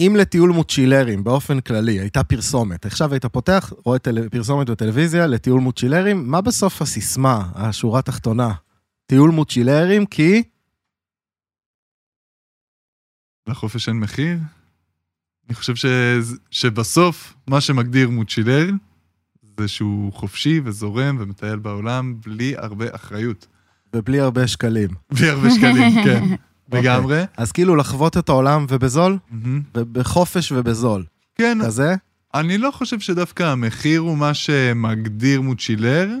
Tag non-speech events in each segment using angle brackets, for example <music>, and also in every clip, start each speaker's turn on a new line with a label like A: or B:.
A: אם לטיול מוצ'ילרים באופן כללי הייתה פרסומת, עכשיו היית פותח, רואה פרסומת בטלוויזיה לטיול מוצ'ילרים, מה בסוף הסיסמה, השורה התחתונה? טיול מוצ'ילרים כי...
B: לחופש אין מחיר? אני חושב ש... שבסוף מה שמגדיר מוצ'ילר זה שהוא חופשי וזורם ומטייל בעולם בלי הרבה אחריות.
A: ובלי הרבה שקלים.
B: בלי הרבה
C: <laughs>
B: שקלים, כן, לגמרי.
A: אז כאילו לחוות את העולם ובזול, בחופש ובזול.
B: כן,
A: כזה?
B: אני לא חושב שדווקא המחיר הוא מה שמגדיר מוצ'ילר,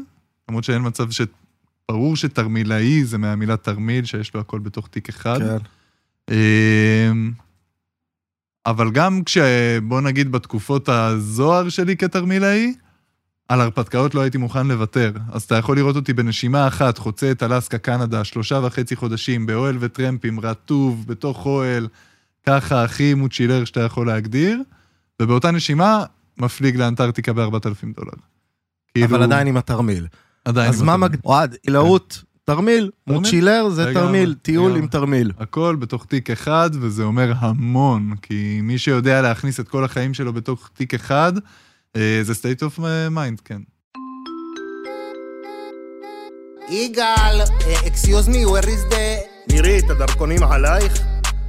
B: למרות שאין מצב ש... ברור שתרמילאי זה מהמילה תרמיל, שיש לו הכל בתוך תיק אחד.
A: כן.
B: אמ, אבל גם כש... בוא נגיד בתקופות הזוהר שלי כתרמילאי, על הרפתקאות לא הייתי מוכן לוותר. אז אתה יכול לראות אותי בנשימה אחת, חוצה את אלסקה, קנדה, שלושה וחצי חודשים, באוהל וטרמפים, רטוב, בתוך אוהל, ככה הכי מוצ'ילר שאתה יכול להגדיר, ובאותה נשימה מפליג לאנטארקטיקה ב-4,000 דולר.
A: אבל עדיין עם התרמיל.
B: כאילו- עדיין. לא
A: אז
B: עם
A: מה
B: התרמיל.
A: מגדיר? אוהד, עילאות, תרמיל,
B: תרמיל.
A: מוצ'ילר זה
B: לגמרי,
A: תרמיל, טיול
B: לגמרי.
A: עם תרמיל.
B: הכל בתוך תיק אחד, וזה אומר המון, כי מי שיודע להכניס את כל החיים שלו בתוך תיק אחד, אה, זה state of mind, כן.
D: יגאל, אה, אקסיוז מי, where is the... נירי, את הדרכונים עלייך?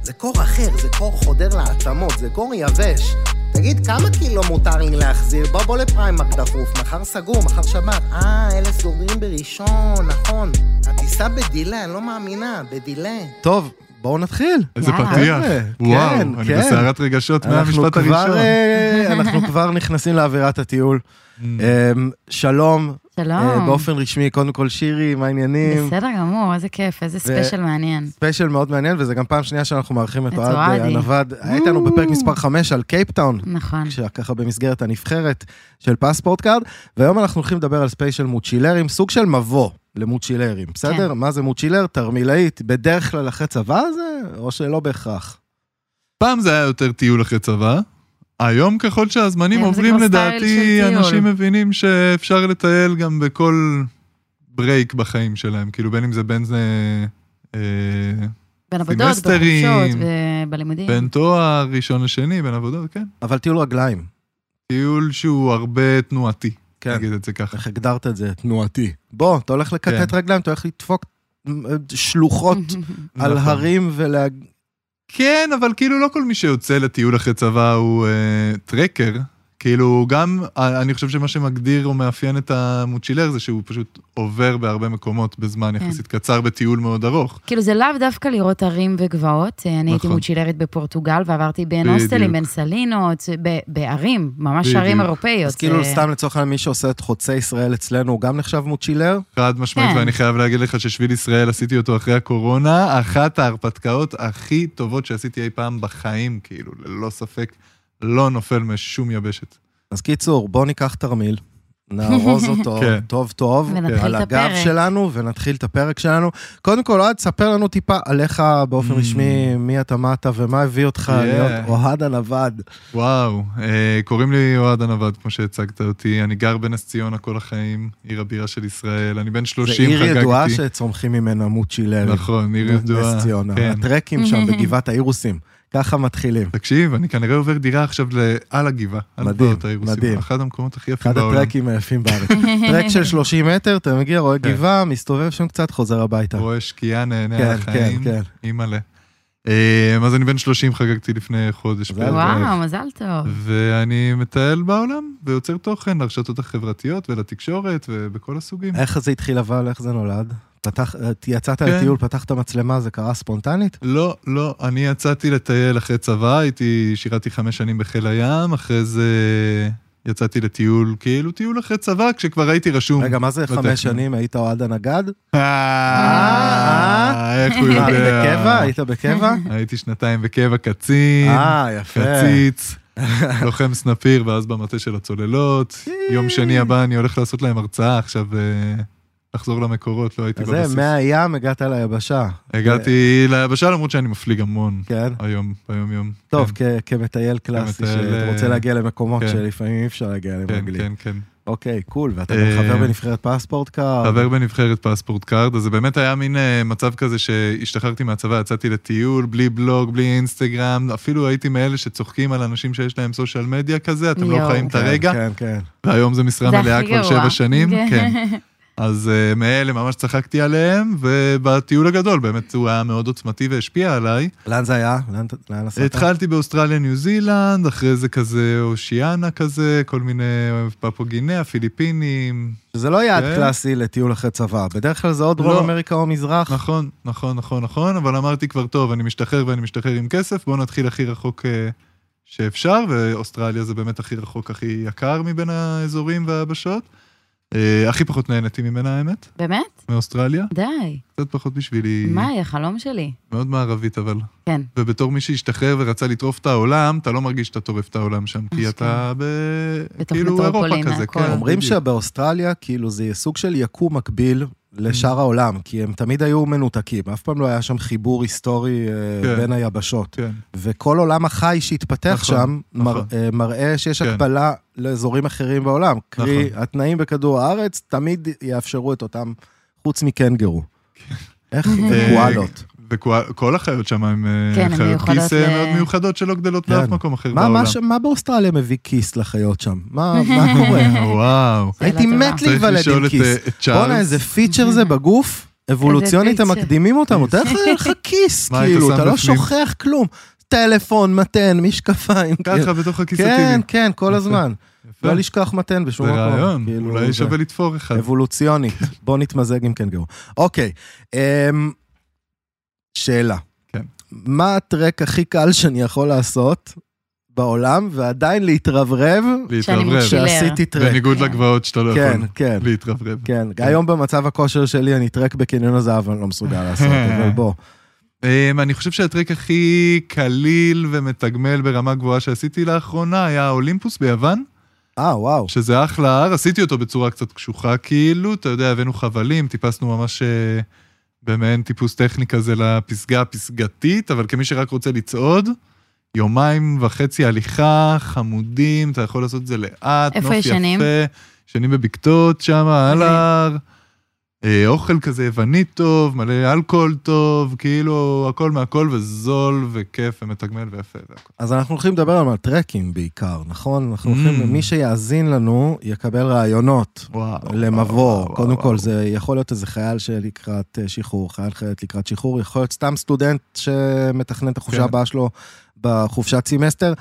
D: זה קור אחר, זה קור חודר לעצמות, זה קור יבש. תגיד, כמה קילו מותר לי להחזיר? בוא בוא לפריימק דחוף, מחר סגור, מחר שבת. אה, אלה סוגרים בראשון, נכון. הטיסה בדילה, אני לא מאמינה, בדילה.
A: טוב, בואו נתחיל.
B: איזה
C: וואו.
B: פתיח.
A: כן,
B: וואו,
A: כן,
B: אני
A: כן.
B: בסערת רגשות
A: אנחנו
B: מהמשפט
A: כבר,
B: הראשון.
A: אה, אנחנו כבר נכנסים לאווירת
B: <laughs>
A: הטיול.
B: Mm.
A: אמ, שלום, אה,
C: שלום.
A: באופן רשמי, קודם כל שירי, מה העניינים?
C: בסדר גמור, איזה כיף, איזה ספיישל מעניין.
A: ספיישל מאוד מעניין, וזה גם פעם שנייה שאנחנו מארחים את
C: את
A: אוהד
C: אוהדי.
A: אה, הנווד. היית לנו בפרק מספר 5 על קייפטאון,
C: Mm. נכון.
A: ככה במסגרת הנבחרת של פספורט קארד, והיום אנחנו הולכים לדבר על ספיישל מוצ'ילרים, סוג של מבוא למוצ'ילרים,
C: כן.
A: בסדר? מה זה מוצ'ילר? תרמילאית, בדרך כלל אחרי צבא זה, או שלא בהכרח.
B: פעם זה היה יותר טיול אחרי צבא. היום ככל שהזמנים
C: היום כן, זה
B: עוברים,
C: כבר סטייל
B: לדעתי
C: של טיול.
B: אנשים מבינים שאפשר לטייל גם בכל ברייק בחיים שלהם, כאילו בין אם זה בין אה, אה,
C: בין עבודות,
B: סמסטרים.
C: בחופשות, ב- בלימודים.
B: בין תואר ראשון לשני, בין עבודות, כן.
A: אבל טיול רגליים.
B: טיול שהוא הרבה תנועתי,
A: כן.
B: נגיד את זה ככה.
A: איך הגדרת את זה? תנועתי. בוא, אתה הולך לכתת
B: כן.
A: רגליים, אתה הולך לדפוק מ,
C: <laughs>
A: שלוחות על
B: נכון.
A: הרים ולה...
B: כן, אבל כאילו לא כל מי שיוצא לטיול אחרי צבא הוא אה, טרקר. כאילו גם, אה, אני חושב שמה שמגדיר או מאפיין את המוצ'ילר זה שהוא פשוט עובר בהרבה מקומות בזמן
C: כן.
B: יחסית קצר בטיול מאוד ארוך.
C: <laughs> כאילו זה לאו דווקא לראות הרים וגבעות, אה, אני הייתי
B: נכון.
C: מוצ'ילרית בפורטוגל ועברתי בין
B: בדיוק.
C: הוסטלים, בין סלינות, ב- בערים, ממש
B: בדיוק.
C: ערים אירופאיות.
A: אז כאילו
C: אה, <laughs>
A: סתם לצורך העניין, מי שעושה את חוצה ישראל אצלנו, הוא גם נחשב מוצ'ילר?
B: חד משמעית,
C: כן.
B: ואני חייב להגיד לך ששביל ישראל עשיתי אותו אחרי הקורונה, אחת ההרפתקאות הכי טובות שעשיתי אי פעם בחיים, כאילו, ללא ספק, לא נופל משום יבשת.
A: אז קיצור, בוא ניקח תרמיל, נארוז
C: <laughs>
A: אותו
B: כן.
A: טוב טוב,
C: ונתחיל
A: על
C: את
A: הגב
C: הפרק.
A: שלנו, ונתחיל את הפרק שלנו. קודם כל, אוהד, ספר לנו טיפה עליך באופן
B: Mm.
A: רשמי, מי אתה, מה אתה ומה הביא אותך
B: Yeah.
A: להיות אוהד הנווד.
B: וואו, אה, קוראים לי אוהד הנווד, כמו שהצגת אותי, אני גר בנס ציונה כל החיים, עיר הבירה של ישראל, אני בן
A: זו
B: 30,
A: עיר
B: חגגתי.
A: ידועה שצומחים ממנה מוצ'ילרים.
B: נכון, עיר ידועה.
A: נס ציונה.
B: כן.
A: הטרקים
C: <laughs>
A: שם בגבעת האירוסים, ככה מתחילים.
B: תקשיב, אני כנראה עובר דירה עכשיו ל- על הגבעה, על
A: מדהים,
B: גבעות האירוסים.
A: מדהים.
B: אחד המקומות הכי יפים
A: אחד
B: בעולם.
A: הטרקים היפים
C: <laughs>
A: בארץ. טרק של 30 מטר, אתה מגיע, רואה
B: כן.
A: גבעה, מסתובב שם קצת, חוזר הביתה.
B: רואה שקיעה, נהנה על
A: כן, כן,
B: החיים.
A: כן.
B: אימא'לה. אז אני בן 30, חגגתי לפני חודש.
A: מזל
B: בערך.
C: וואו, מזל טוב.
B: ואני מטייל בעולם ויוצר תוכן לרשתות החברתיות ולתקשורת ובכל הסוגים.
A: איך זה התחיל אבל, איך זה נולד? פתח, אה, יצאת
B: כן.
A: לטיול, פתחת מצלמה, זה קרה ספונטנית?
B: לא, לא, אני יצאתי לטייל אחרי צבא, הייתי, שירתי חמש שנים בחיל הים, אחרי זה יצאתי לטיול, כאילו טיול אחרי צבא, כשכבר הייתי רשום.
A: רגע, מה זה
B: בטכני.
A: חמש שנים, היית אוהד
B: <laughs>
A: הנגד?
B: אה, איך הוא
A: מה, היית
B: יודע?
A: בקבע? היית
B: <laughs>
A: בקבע?
B: הייתי שנתיים בקבע קצין,
A: אה, יפה. <laughs>
B: קציץ, לוחם סנפיר, ואז במטה של הצוללות. יום שני הבא אני הולך לעשות להם הרצאה עכשיו, אה, לחזור למקורות, לא הייתי
A: אז זה,
B: בבסיס.
A: מהים הגעת ליבשה,
B: הגעתי ליבשה למרות שאני מפליג המון
A: כן?
B: היום, כן, ביום יום.
A: טוב, כ- כמטייל קלאסי,
B: כמטייל,
A: שאתה רוצה
B: אה,
A: להגיע למקומות
B: כן.
A: שלפעמים אי אפשר להגיע
B: כן,
A: למרגלים.
B: כן, כן.
A: אוקיי, קול, ואתה
B: אה,
A: גם חבר בנבחרת פספורט קארד.
B: חבר בנבחרת פספורט קארד, אז זה באמת היה מין אה, מצב כזה שהשתחררתי מהצבא, יצאתי לטיול, בלי בלוג, בלי אינסטגרם, אפילו הייתי מאלה שצוחקים על אנשים שיש להם סושיאל מדיה כזה, אתם לא
C: יואו.
B: חיים את
A: כן,
B: הרגע,
A: כן, כן.
B: והיום זה משרה
C: זה
B: מלאה
C: הכי
B: כבר
C: גרוע.
B: שבע שנים,
C: כן.
B: כן. אז אה, מאלה ממש צחקתי עליהם, ובטיול הגדול באמת הוא היה מאוד עוצמתי והשפיע עליי.
A: לאן זה היה? לאן לאן נסעת?
B: התחלתי באוסטרליה, ניו זילנד, אחרי זה כזה אושיאנה כזה, כל מיני פפוגיניה, פיליפינים,
A: זה לא יעד
B: כן.
A: קלאסי לטיול אחרי צבא, בדרך כלל זה או דרום
B: לא.
A: אמריקה או מזרח.
B: נכון, נכון, נכון, נכון, אבל אמרתי כבר, טוב, אני משתחרר ואני משתחרר עם כסף, בואו נתחיל הכי רחוק אה, שאפשר, ואוסטרליה זה באמת הכי רחוק, הכי יקר מבין האזורים והיבשות. אה, הכי פחות נהניתי ממנה, האמת,
C: באמת?
B: מאוסטרליה.
C: די.
B: קצת פחות בשבילי,
C: מאי, החלום שלי.
B: מאוד מערבית אבל.
C: כן.
B: ובתור מי שהשתחרר ורצה לטרוף את העולם, אתה לא מרגיש שאתה טורף את העולם שם, כי אתה ב...
C: כן. בתוך
B: כאילו אירופה
C: מטרופולין,
B: כזה,
C: הכל.
B: כן.
A: אומרים
B: בדיוק.
A: שבאוסטרליה, כאילו, זה סוג של יקום מקביל לשאר
B: Mm.
A: העולם, כי הם תמיד היו מנותקים, אף פעם לא היה שם חיבור היסטורי אה,
B: כן.
A: בין היבשות.
B: כן.
A: וכל עולם החי שהתפתח
B: נכון,
A: שם, מר-
B: נכון.
A: אה, מראה שיש
B: כן. נכון.
A: הקבלה לאזורים אחרים בעולם. קרי, התנאים בכדור הארץ תמיד יאפשרו את אותם, חוץ מקנגרו.
B: כן.
A: איך?
B: אה,
A: וקואלות.
B: וכל החיות שם הן אה,
C: כן, הן
B: חיות
C: מיוחדות
B: כיס
C: ל-
B: אה, מאוד מיוחדות שלא גדלות באף
A: כן.
B: מקום אחר
A: מה-
B: בעולם.
A: מה ש- מה באוסטרליה מביא כיס לחיות שם?
B: <laughs>
A: מה מה קורה?
B: וואו.
C: שאלה
A: הייתי
C: טובה.
A: מת
B: צריך
A: להיוולד
B: לשאול
A: עם
B: את,
A: כיס.
B: אה, את צ'ארלס.
A: בואנה, איזה פיצ'ר זה בגוף, אבולוציונית הם
C: פיצ'ר.
A: מקדימים אותנו, תאר לך, היה לך כיס,
B: מה, היית
A: כאילו,
B: שם
A: אתה לא
B: בפנים?
A: שוכח כלום. טלפון, מתן, משקפיים.
B: ככה בתוך הכיס
A: כן,
B: הטבעי.
A: כן, כל
B: יפה.
A: הזמן.
B: יפה.
A: לא לשכוח מתן בשום
B: זה
A: מקום.
B: רעיון,
A: כאילו,
B: אולי
A: זה-
B: שווה לתפור אחד. <laughs>
A: אבולוציונית. בוא נתמזג עם קנגורו. אוקיי, אמ, שאלה.
B: כן.
A: מה הטרק הכי קל שאני יכול לעשות בעולם, ועדיין להתרברב
C: שאני
B: להתרברב.
C: מוציא-
A: שעשיתי טרק?
B: בניגוד
C: כן.
B: לגבעות שאתה לא
A: כן,
B: יכול
A: כן.
B: להתרברב.
A: כן, היום במצב הכושר שלי אני טרק בקניון הזהב, אני לא מסוגל
B: <laughs>
A: לעשות, אבל בוא.
B: אמ, אני חושב שהטרק הכי קליל ומתגמל ברמה גבוהה שעשיתי לאחרונה היה האולימפוס ביוון,
A: אה, וואו.
B: שזה אחלה הר, עשיתי אותו בצורה קצת קשוחה כאילו, אתה יודע, הבאנו חבלים, טיפסנו ממש אה, במעין טיפוס טכני כזה לפסגה הפסגתית, אבל כמי שרק רוצה לצעוד, יומיים וחצי הליכה, חמודים, אתה יכול לעשות את זה לאט,
C: איפה
B: נוף
C: ישנים?
B: יפה, ישנים בבקתות שם, על ההר. אה, אוכל כזה יווני טוב, מלא אלכוהול טוב, כאילו הכל מהכל וזול וכיף ומתגמל ויפה והכל.
A: אז אנחנו הולכים לדבר היום על טרקים בעיקר, נכון? אנחנו
B: Mm.
A: הולכים, מי שיאזין לנו יקבל רעיונות.
B: וואו.
A: למבוא,
B: וואו,
A: קודם
B: וואו,
A: כל זה יכול להיות איזה חייל שלקראת אה, שחרור, חייל חיילת לקראת שחרור, יכול להיות סתם סטודנט שמתכנן את החופשה
B: כן.
A: הבאה שלו בחופשת סמסטר,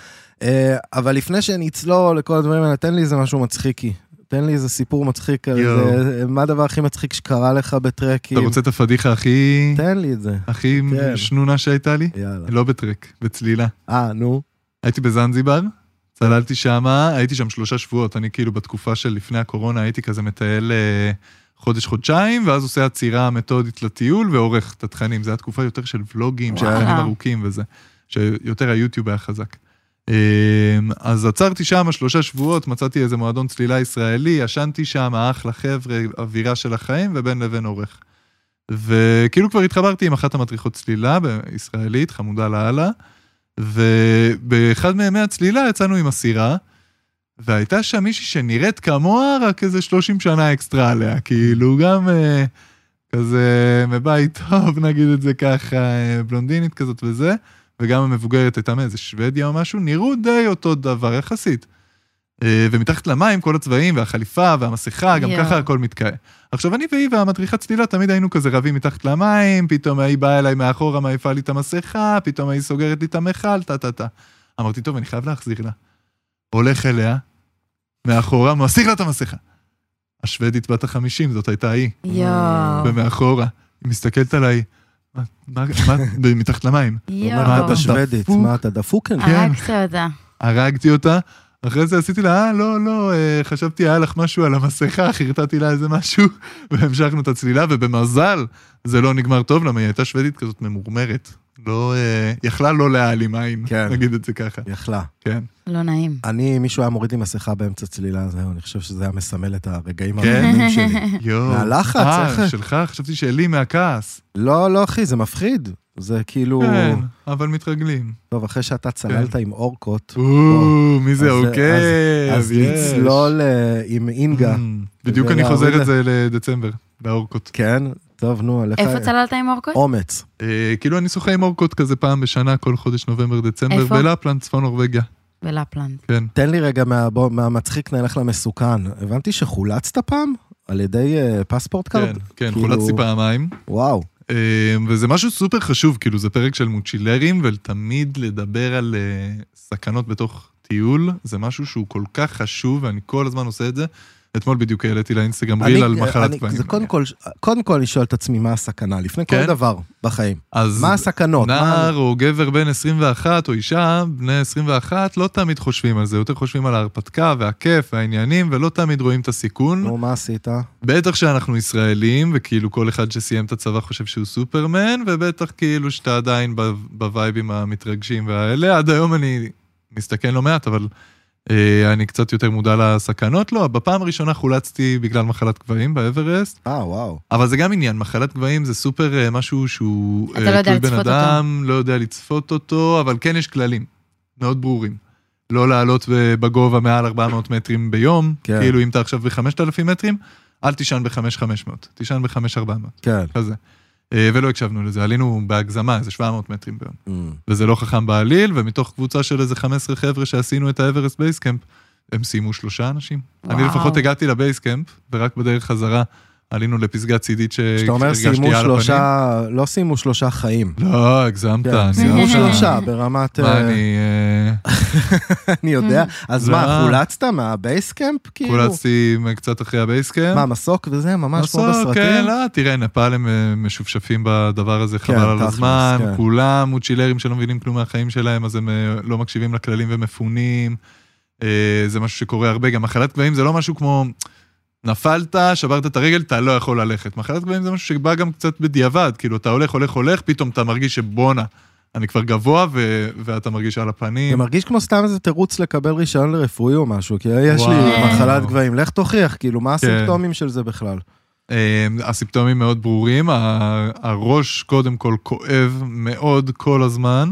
A: אה, אבל לפני שנצלול לכל הדברים האלה, תן לי איזה משהו מצחיקי. תן לי איזה סיפור מצחיק, על
B: יואו.
A: איזה- מה הדבר הכי מצחיק שקרה לך בטרקים?
B: אתה רוצה את הפדיחה הכי...
A: תן לי את זה,
B: הכי
A: כן.
B: שנונה שהייתה לי?
A: יאללה.
B: לא בטרק, בצלילה.
A: אה, נו.
B: הייתי בזנזיבר, צללתי שמה, הייתי שם שלושה שבועות, אני כאילו בתקופה של לפני הקורונה הייתי כזה מטייל אה, חודש-חודשיים, ואז עושה עצירה מתודית לטיול ועורך את התכנים. זו הייתה תקופה יותר של ולוגים, של
C: וואלה.
B: תכנים ארוכים וזה, שיותר היוטיוב היה חזק. אה, אז עצרתי שם שלושה שבועות, מצאתי איזה מועדון צלילה ישראלי, ישנתי שם, אחלה חבר'ה, אווירה של החיים, ובין לבין עורך. וכאילו כבר התחברתי עם אחת המדריכות צלילה, ב- ישראלית, חמודה לאללה, ובאחד מימי הצלילה יצאנו עם הסירה, והייתה שם מישהי שנראית כמוה רק איזה 30 שנה אקסטרה עליה, כאילו גם אה, כזה מבית טוב, <laughs> נגיד את זה ככה, אה, בלונדינית כזאת וזה, וגם המבוגרת הייתה מאיזה שוודיה או משהו, נראו די אותו דבר יחסית. אה, ומתחת למים כל הצבעים והחליפה והמסכה, גם
C: יואו.
B: ככה הכל מתקעה. עכשיו, אני והיא והמדריכת צלילה תמיד היינו כזה רבים מתחת למים, פתאום ההיא באה אליי מאחורה, מעיפה לי את המסכה, פתאום ההיא סוגרת לי את המכל, טה טה טה. אמרתי, טוב, אני חייב להחזיר לה. הולך אליה, מאחורה, מסיר לה את המסכה. השוודית בת החמישים, זאת הייתה היא, אה,
C: יואו.
B: ומאחורה. היא מסתכלת עליי, מה, מה, מה, ב- מתחת למים.
A: מה
C: יואו.
A: אתה שוודית?
B: לא. דפוק?
A: מה אתה דפוק? אני?
B: כן.
C: הרגת אותה.
B: הרגתי אותה, אחרי זה עשיתי לה, אה, לא, לא, אה, חשבתי היה לך משהו על המסכה, חרטטתי לה איזה משהו, <laughs> והמשכנו את הצלילה, ובמזל, זה לא נגמר טוב, למה היא הייתה שוודית כזאת ממורמרת. לא, אה, יכלה לא להעלים עין,
A: כן.
B: נגיד את זה ככה.
A: יכלה.
B: כן.
C: לא נעים.
A: אני, מישהו היה מוריד לי מסכה באמצע צלילה, זהו, אני חושב שזה היה מסמל את הרגעים
B: כן?
A: הראשונים שלי.
B: יואו.
A: מהלחץ,
B: אה,
A: איך-
B: שלך? חשבתי שלי מהכעס.
A: לא, לא, אחי, זה מפחיד. זה כאילו...
B: כן, אבל מתרגלים.
A: טוב, אחרי שאתה צללת עם אורקות,
B: או, מי זה
A: אז-
B: עוקב?
A: אז
B: יש.
A: לצלול אה, עם אינגה.
B: Mm, בדיוק
A: זה
B: אני
A: להוריד
B: חוזר
A: לה.
B: את זה לדצמבר, לאורקות.
A: כן? טוב, נו, לך...
C: איפה צללת עם אורקות?
A: אומץ.
B: אה, כאילו אני שוחה עם אורקות כזה פעם בשנה, כל חודש נובמבר, דצמבר,
C: איפה?
B: בלפלנד, צפון נורבגיה,
A: אה,
C: בלפלנד.
B: כן.
A: תן לי רגע מה- בוא- מהמצחיק נלך למסוכן. הבנתי שחולצת פעם? על ידי אה, פספורט
B: כן,
A: קארד?
B: כן,
A: כאילו-
B: חולצתי פעמיים.
A: וואו.
B: אה, וזה משהו סופר חשוב, כאילו זה פרק של מוצ'ילרים, ותמיד לדבר על אה, סכנות בתוך טיול, זה משהו שהוא כל כך חשוב, ואני כל הזמן עושה את זה. אתמול בדיוק העליתי לאינסטגרם ריל על
A: אני-
B: מחלת
A: אני-
B: פנים.
A: זה קודם כל, קודם כל לשאול את עצמי מה הסכנה, לפני
B: כן?
A: כל דבר בחיים.
B: אז
A: מה הסכנות? מה-
B: נער או גבר בן 21 או אישה בני 21 לא תמיד חושבים על זה, יותר חושבים על ההרפתקה והכיף והעניינים, ולא תמיד רואים את הסיכון.
A: נו, מה עשית? אה,
B: בטח שאנחנו ישראלים, וכאילו כל אחד שסיים את הצבא חושב שהוא סופרמן, ובטח כאילו שאתה עדיין ב- בווייבים המתרגשים והאלה. עד היום אני מסתכן לא מעט, אבל אה, אני קצת יותר מודע לסכנות. לא, בפעם הראשונה חולצתי בגלל מחלת גבהים באברסט,
A: אה, וואו.
B: אבל זה גם עניין, מחלת גבהים זה סופר אה, משהו שהוא... אה,
C: אתה לא יודע
B: תלוי
C: לצפות
B: בן אדם, לא יודע לצפות אותו, אבל כן יש כללים מאוד ברורים. לא לעלות ב- בגובה מעל 400 מטרים ביום,
A: כן.
B: כן. כאילו אם אתה עכשיו ב-5,000 מטרים, אל תישן ב-5,500, תישן ב-5,400,
A: כן.
B: כזה. אה, ולא הקשבנו לזה, עלינו בהגזמה איזה 700 מטרים ביום.
A: Mm.
B: וזה לא חכם בעליל, ומתוך קבוצה של איזה 15 חבר'ה שעשינו את האברסט בייסקאמפ, הם סיימו שלושה אנשים. וואו. אני
C: וואו.
B: לפחות
C: <laughs>
B: הגעתי לבייסקאמפ, ורק בדרך חזרה עלינו לפסגה צידית שהרגשתי
A: כשאתה אומר סיימו
B: על הפנים.
A: שלושה, לא סיימו שלושה חיים.
B: לא, הגזמת,
A: כן,
B: אני
A: סיימו
B: לא-
A: שלושה ברמת...
B: מה
A: אה,
B: אני... אה,
A: <laughs> אני
B: <laughs>
A: יודע. אז
B: זה
A: מה,
B: היה-
A: חולצת מהבייסקאמפ? כאילו?
B: חולצתי קצת אחרי הבייסקאמפ.
A: מה, מסוק וזה? ממש כמו
B: בסוף, כן,
A: בסרטים?
B: לא, תראה, נפאל הם אה, משופשפים בדבר הזה, חבל על
A: תכלס,
B: הזמן,
A: כן.
B: כולם מוצ'ילרים שלא מבינים כלום מהחיים שלהם, אז הם אה, לא מקשיבים לכללים ומפונים. אה, זה משהו שקורה הרבה, גם מחלת גבהים זה לא משהו כמו... נפלת, שברת את הרגל, אתה לא יכול ללכת. מחלת גבהים זה משהו שבא גם קצת בדיעבד, כאילו, אתה הולך, הולך, הולך, פתאום אתה מרגיש שבואנה, אני כבר גבוה, ו- ואתה מרגיש על
A: זה
B: הפנים.
A: מרגיש כמו סתם איזה תירוץ לקבל רישיון לרפואי או משהו, כי יש לי
B: וואו. כן.
A: מחלת גבהים, לך תוכיח, כאילו, מה הסימפטומים של זה בכלל?
B: אה, הסימפטומים מאוד ברורים, ה- הראש קודם כל כואב מאוד כל הזמן.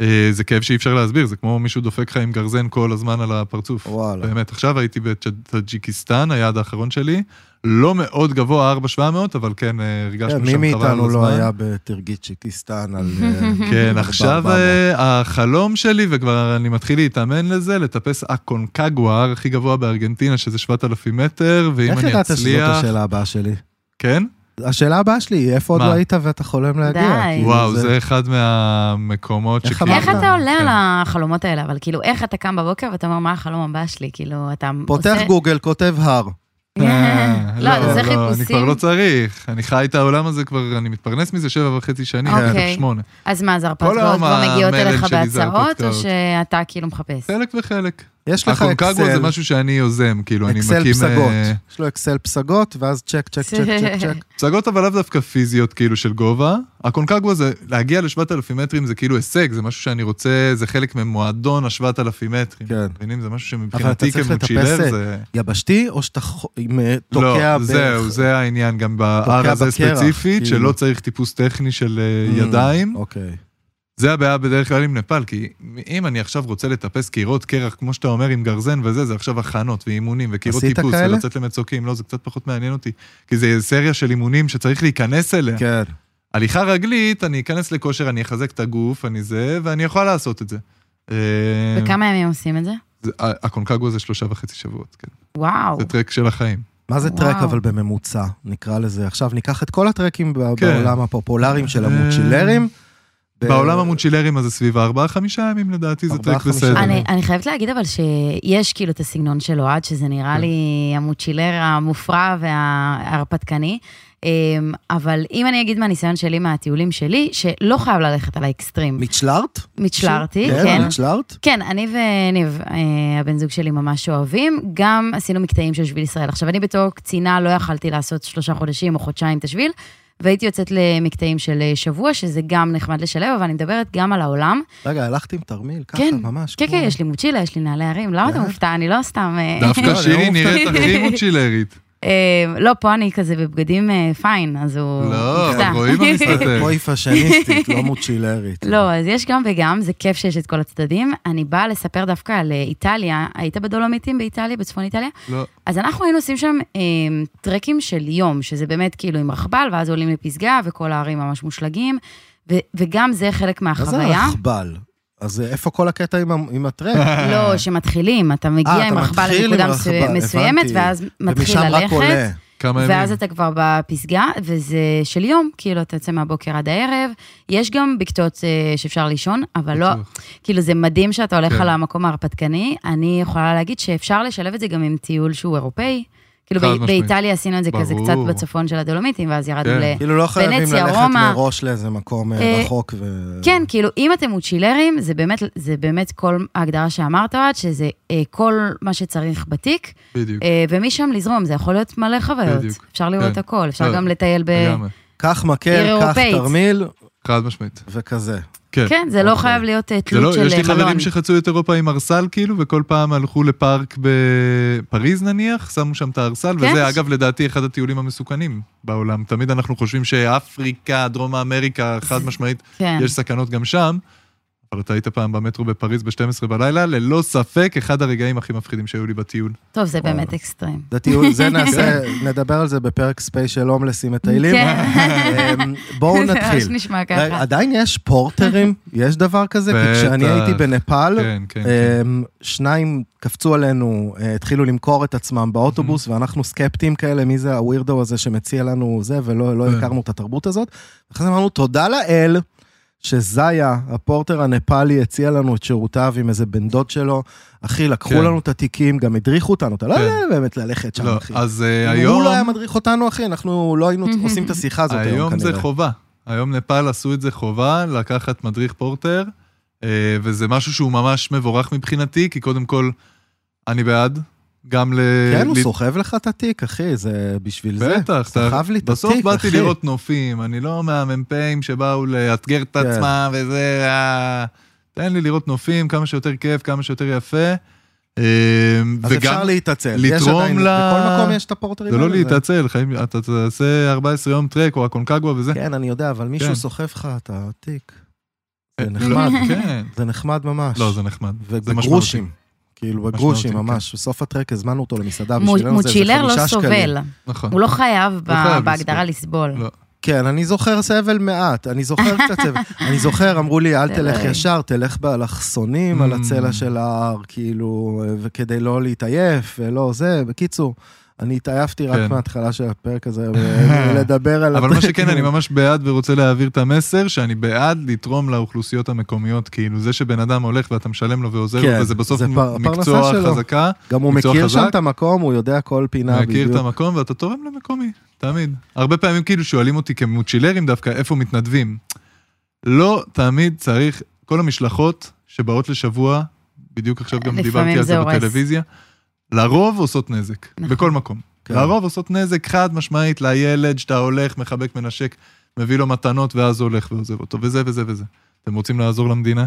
B: אה, זה כאב שאי אפשר להסביר, זה כמו מישהו דופק לך עם גרזן כל הזמן על הפרצוף.
A: וואלה.
B: באמת, עכשיו הייתי בטאג'יקיסטן, היעד האחרון שלי, לא מאוד גבוה, 4,700, אבל כן, אה,
A: כן,
B: הרגשנו
A: מי
B: שם חבל על
A: מאיתנו לא
B: הזמן.
A: היה בטרגיצ'יקיסטן
C: <laughs>
A: על... אה, <laughs>
B: כן,
A: ארבע,
B: עכשיו
A: ארבע.
B: אה, החלום שלי, וכבר אני מתחיל להתאמן לזה, לטפס הקונקגווה, ההר הכי גבוה בארגנטינה, שזה 7,000 מטר, ואם אני
A: איך
B: אצליח...
A: ידעת לא שזאת השאלה הבאה שלי?
B: כן?
A: השאלה הבאה שלי היא, איפה עוד
B: מה?
A: לא היית ואתה חולם להגיע?
C: די.
A: כאילו,
B: וואו, זה אחד מהמקומות
A: איך
B: שכאילו...
A: אמרת?
C: איך אתה עולה
B: כן.
C: על החלומות האלה? אבל כאילו, איך אתה קם בבוקר ואתה אומר, מה החלום הבא שלי? כאילו, אתה
A: פותח גוגל, כותב הר.
B: אה,
C: לא, זה
B: אני כבר
C: חיפושים.
B: לא צריך. אני חי את העולם הזה כבר, אני מתפרנס מזה שבע וחצי שנים,
C: אוקיי.
B: תכף שמונה.
C: אז מה, אז
B: כל
C: הרפתקאות
B: היום
C: כבר מגיעות
B: המלל
C: אליך
B: שלי זה
C: בהצעות, או
B: הרפתקאות.
C: שאתה כאילו מחפש?
B: חלק וחלק.
A: יש לך
B: הקונקגווה זה
A: אקסל,
B: משהו שאני יוזם, כאילו, אני מקים...
A: אקסל פסגות.
B: אה,
A: יש לו אקסל פסגות, ואז צ'ק, צ'ק, צ'ק,
C: <laughs>
A: צ'ק, צ'ק.
B: פסגות אבל לאו דווקא פיזיות כאילו של גובה. הקונקגווה זה, להגיע ל-7,000 מטרים זה כאילו הישג, זה משהו שאני רוצה, זה חלק ממועדון ה-7,000 מטרים.
A: כן.
B: מבינים? זה משהו
A: אבל אתה
B: שמבחינתי
A: צריך
B: כמוצ'ילר
A: לטפס
B: זה...
A: יבשתי, או שאתה ח- עם, אה, תוקע
B: לא,
A: בערך?
B: זהו, זה העניין גם בהר
A: תוקע
B: הזה
A: בקרח,
B: ספציפית,
A: כאילו.
B: שלא צריך טיפוס טכני של אה,
A: Mm,
B: ידיים.
A: אוקיי.
B: זה הבעיה בדרך כלל עם נפאל, כי אם אני עכשיו רוצה לטפס קירות קרח, כמו שאתה אומר, עם גרזן וזה, זה עכשיו הכנות ואימונים וקירות
A: עשית
B: טיפוס,
A: כאלה?
B: ולצאת למצוקים, לא, זה קצת פחות מעניין אותי. כי זה סריה של אימונים שצריך להיכנס אליה.
A: כן.
B: הליכה רגלית, אני אכנס לכושר, אני אחזק את הגוף, אני זה, ואני יכול לעשות את זה. אה,
C: וכמה ימים עושים את זה?
B: זה- ה- הקונקגווה זה שלושה וחצי שבועות, כן.
C: וואו.
B: זה טרק של החיים.
A: מה זה טרק
C: וואו.
A: אבל בממוצע, נקרא לזה. עכשיו ניקח את כל הטרקים ב-
B: כן.
A: בעולם הפופולריים של המוצ'ילרים. ב-
C: אה,
B: בעולם המונצ'ילרים אז זה סביב הארבעה-חמישה ימים לדעתי, זה
A: ארבעה,
B: טרק
A: חמישה
B: בסדר.
A: ימים.
C: אני, אני חייבת להגיד אבל שיש כאילו את הסגנון של אוהד, שזה נראה
B: כן.
C: לי המוצ'ילר המופרע וההרפתקני. אמ, אבל אם אני אגיד מהניסיון שלי, מהטיולים שלי, שלא חייב ללכת על האקסטרים.
A: מיצ'לארט?
C: מצ'לרתי,
A: כן,
C: כן.
A: מיצ'לארט?
C: כן, אני וניב, אה, הבן זוג שלי, ממש אוהבים. גם עשינו מקטעים של שביל ישראל. עכשיו, אני בתור קצינה לא יכלתי לעשות שלושה חודשים או חודשיים את השביל, והייתי יוצאת למקטעים של אה, שבוע, שזה גם נחמד לשלב, אבל אני מדברת גם על העולם.
A: רגע, הלכת עם תרמיל, ככה,
C: כן,
A: ממש.
C: כן,
A: כמו-
C: כן, יש לי מוצ'ילה, יש לי נעלי הרים, למה אתה
A: אה.
C: מופתע? אני לא סתם... אה,
A: לא,
B: דווקא
A: אני
B: שירי
A: לא
B: נראית הכי מונצ'ילרית.
C: <laughs> אה, לא, פה אני כזה בבגדים אה, פיין, אז הוא
B: לא, אבל
C: נפתח.
B: רואים מה מסתתר.
C: אה,
A: פה היא פאשניסטית, לא מוצ'ילרית.
C: לא, אז יש גם וגם, זה כיף שיש את כל הצדדים. אני באה לספר דווקא על אה, איטליה, היית בדולומיטים באיטליה, בצפון איטליה?
B: לא.
C: אז אנחנו היינו עושים שם אה, טרקים של יום, שזה באמת כאילו עם רכבל, ואז עולים לפסגה, וכל הערים ממש מושלגים, ו- וגם זה חלק
A: מה זה
C: מהחוויה.
A: הרכבל? אז אה, איפה כל הקטע עם ה- עם הטרק?
C: לא, שמתחילים, אתה מגיע
A: אה,
C: עם
A: אתה
C: רכבל
A: מתחיל עם
C: לנקודה
A: רכבל,
C: מסו-
A: הבנתי.
C: מסוימת, ואז <laughs> מתחיל
A: ומשם רק
C: ללכת.
A: עולה.
B: כמה ימים.
C: ואז אתה כבר בפסגה, וזה של יום, כאילו, אתה יוצא מהבוקר עד הערב. יש גם בקתות אה, שאפשר לישון, אבל לא,
B: בטוח.
C: כאילו, זה מדהים שאתה הולך
B: כן.
C: על המקום ההרפתקני. אני יכולה להגיד שאפשר לשלב את זה גם עם טיול שהוא אירופאי. כאילו,
B: חד
C: בא-
B: משמעית.
C: באיטליה עשינו את זה כזה
B: ברור.
C: קצת בצפון של הדולומיטים, ואז ירדנו
B: כן.
C: ל...
A: כאילו לא חייבים
C: ונציה,
A: ללכת
C: רומא.
A: מראש לאיזה מקום אה,
C: אה,
A: רחוק ו...
C: כן, כאילו, אם אתם מוצ'ילרים, זה באמת, זה באמת כל ההגדרה שאמרת, אוהד, שזה אה, כל מה שצריך בתיק,
B: בדיוק.
C: אה, ומשם לזרום, זה יכול להיות מלא חוויות.
B: כן. בדיוק.
C: אפשר לראות
B: כן.
C: הכל, אפשר
B: לא,
C: גם לטייל ב...
B: לגמרי.
A: קח
C: עיר
A: מקל, קח
C: אירופאית.
A: תרמיל
B: חד משמעית.
A: וכזה.
B: כן.
C: כן, זה לא
A: אוקיי.
C: חייב להיות אה,
B: זה
C: תלות
B: לא,
C: של
B: יש לי
C: אה, מלון.
B: חברים שחצו את אירופה עם ארסל כאילו, וכל פעם הלכו לפארק בפריז נניח, שמו שם את הארסל,
C: כן.
B: וזה אגב לדעתי אחד הטיולים המסוכנים בעולם. תמיד אנחנו חושבים שאפריקה, דרום אמריקה, חד משמעית,
C: כן.
B: יש סכנות גם שם, אבל אתה היית פעם במטרו בפריז ב-12 בלילה, ללא ספק אחד הרגעים הכי מפחידים שהיו לי בטיול.
C: טוב, זה באמת אקסטרים.
A: זה טיול, זה נעשה, נדבר על זה בפרק ספיישל הומלסים מטיילים.
C: כן.
A: אמ, בואו
C: זה <laughs> ממש
A: נתחיל.
C: נשמע
A: רגע,
C: ככה.
A: עדיין יש פורטרים? יש דבר כזה? כי
B: בטח.
A: כשאני הייתי בנפאל,
B: כן, כן.
A: אמ, שניים קפצו עלינו, אה, התחילו למכור את עצמם באוטובוס, ואנחנו סקפטיים כאלה, מי זה הווירדו הזה שמציע לנו זה, ולא לא
B: כן.
A: הכרנו את התרבות הזאת. אחרי זה אמרנו, תודה לאל. שזיה, הפורטר הנפאלי, הציע לנו את שירותיו עם איזה בן דוד שלו. אחי, לקחו
B: כן.
A: לנו את התיקים, גם הדריכו אותנו, אתה לא
B: כן.
A: יודע באמת ללכת שם,
B: לא,
A: אחי.
B: אז אה,
A: אם
B: היום...
A: הוא לא היה מדריך אותנו, אחי, אנחנו לא היינו עושים את השיחה הזאת היום,
B: היום
A: כנראה.
B: זה חובה. היום נפאל עשו את זה חובה, לקחת מדריך פורטר, אה, וזה משהו שהוא ממש מבורך מבחינתי, כי קודם כל, אני בעד, גם ל...
A: כן, הוא
B: ל-
A: סוחב לך את התיק, אחי, זה בשביל זה.
B: בטח, אתה...
A: סחב לי את התיק,
B: בסוף
A: אחי.
B: באתי לראות נופים, אני לא מהמ"פים שבאו לאתגר את
A: כן.
B: עצמם וזה... אה, תן לי לראות נופים, כמה שיותר כיף, כמה שיותר יפה. אה,
A: אז אפשר להתעצל. יש
B: לתרום
A: עדיין-
B: ל-
A: בכל מקום יש את הפורטרים
B: זה לא
A: האלה,
B: להתעצל, חיים, אתה תעשה 14 יום טרק או הקונקגווה וזה.
A: כן, אני יודע, אבל
B: כן.
A: מישהו סוחב לך את התיק.
B: אה,
A: זה נחמד,
B: לא, <laughs> כן.
A: זה נחמד ממש.
B: לא, זה נחמד. זה משמעותי.
A: ובגרושים. כאילו, בגרושים
B: משמעותי, כן.
A: ממש. בסוף הטרק הזמנו אותו למסעדה
C: מו-
A: בשבילנו זה איזה
C: מוצ'ילר
A: חמישה
C: לא
A: שקלים.
C: סובל,
B: נכון.
C: הוא לא חייב ב-
B: חייב
C: בהגדרה לסבול.
B: לא.
A: כן, אני זוכר סבל מעט, אני זוכר קצת
B: <laughs>
A: סבל. אני זוכר, אלחסונים, אמרו לי, אל
C: זה
A: תלך
C: לא-
A: ישר, תלך באלכסונים על
B: Mm.
A: הצלע של ההר, כאילו, וכדי לא להתעייף, ולא זה. בקיצור, אני התעייפתי רק
B: כן.
A: מההתחלה של הפרק הזה,
B: <laughs>
A: לדבר על...
B: אבל מה שכן,
A: <laughs> הטרקים.
B: אני ממש בעד ורוצה להעביר את המסר, שאני בעד לתרום לאוכלוסיות המקומיות. כאילו, זה שבן אדם הולך ואתה משלם לו ועוזר
A: כן,
B: לו, וזה בסוף
A: זה פר-
B: מקצוע
A: הפרנסה שלו.
B: חזקה,
A: גם הוא
B: מקצוע
A: מכיר
B: חזק?
A: שם את המקום, הוא יודע כל פינה
B: להכיר את
A: בדיוק.
B: המקום, ואתה תורם למקומי, תמיד. הרבה פעמים כאילו שואלים אותי כמוצ'ילרים דווקא, איפה מתנדבים? לא תמיד צריך, כל המשלחות שבאות לשבוע, בדיוק עכשיו גם
C: לפעמים
B: דיברתי על
C: זה
B: זה
C: הורס.
B: בטלוויה, לרוב עושות נזק,
C: נכון.
B: בכל מקום.
A: כן.
B: לרוב עושות נזק חד משמעית לילד שאתה הולך, מחבק, מנשק, מביא לו מתנות, ואז הולך ועוזב אותו, וזה וזה וזה. אתם רוצים לעזור למדינה?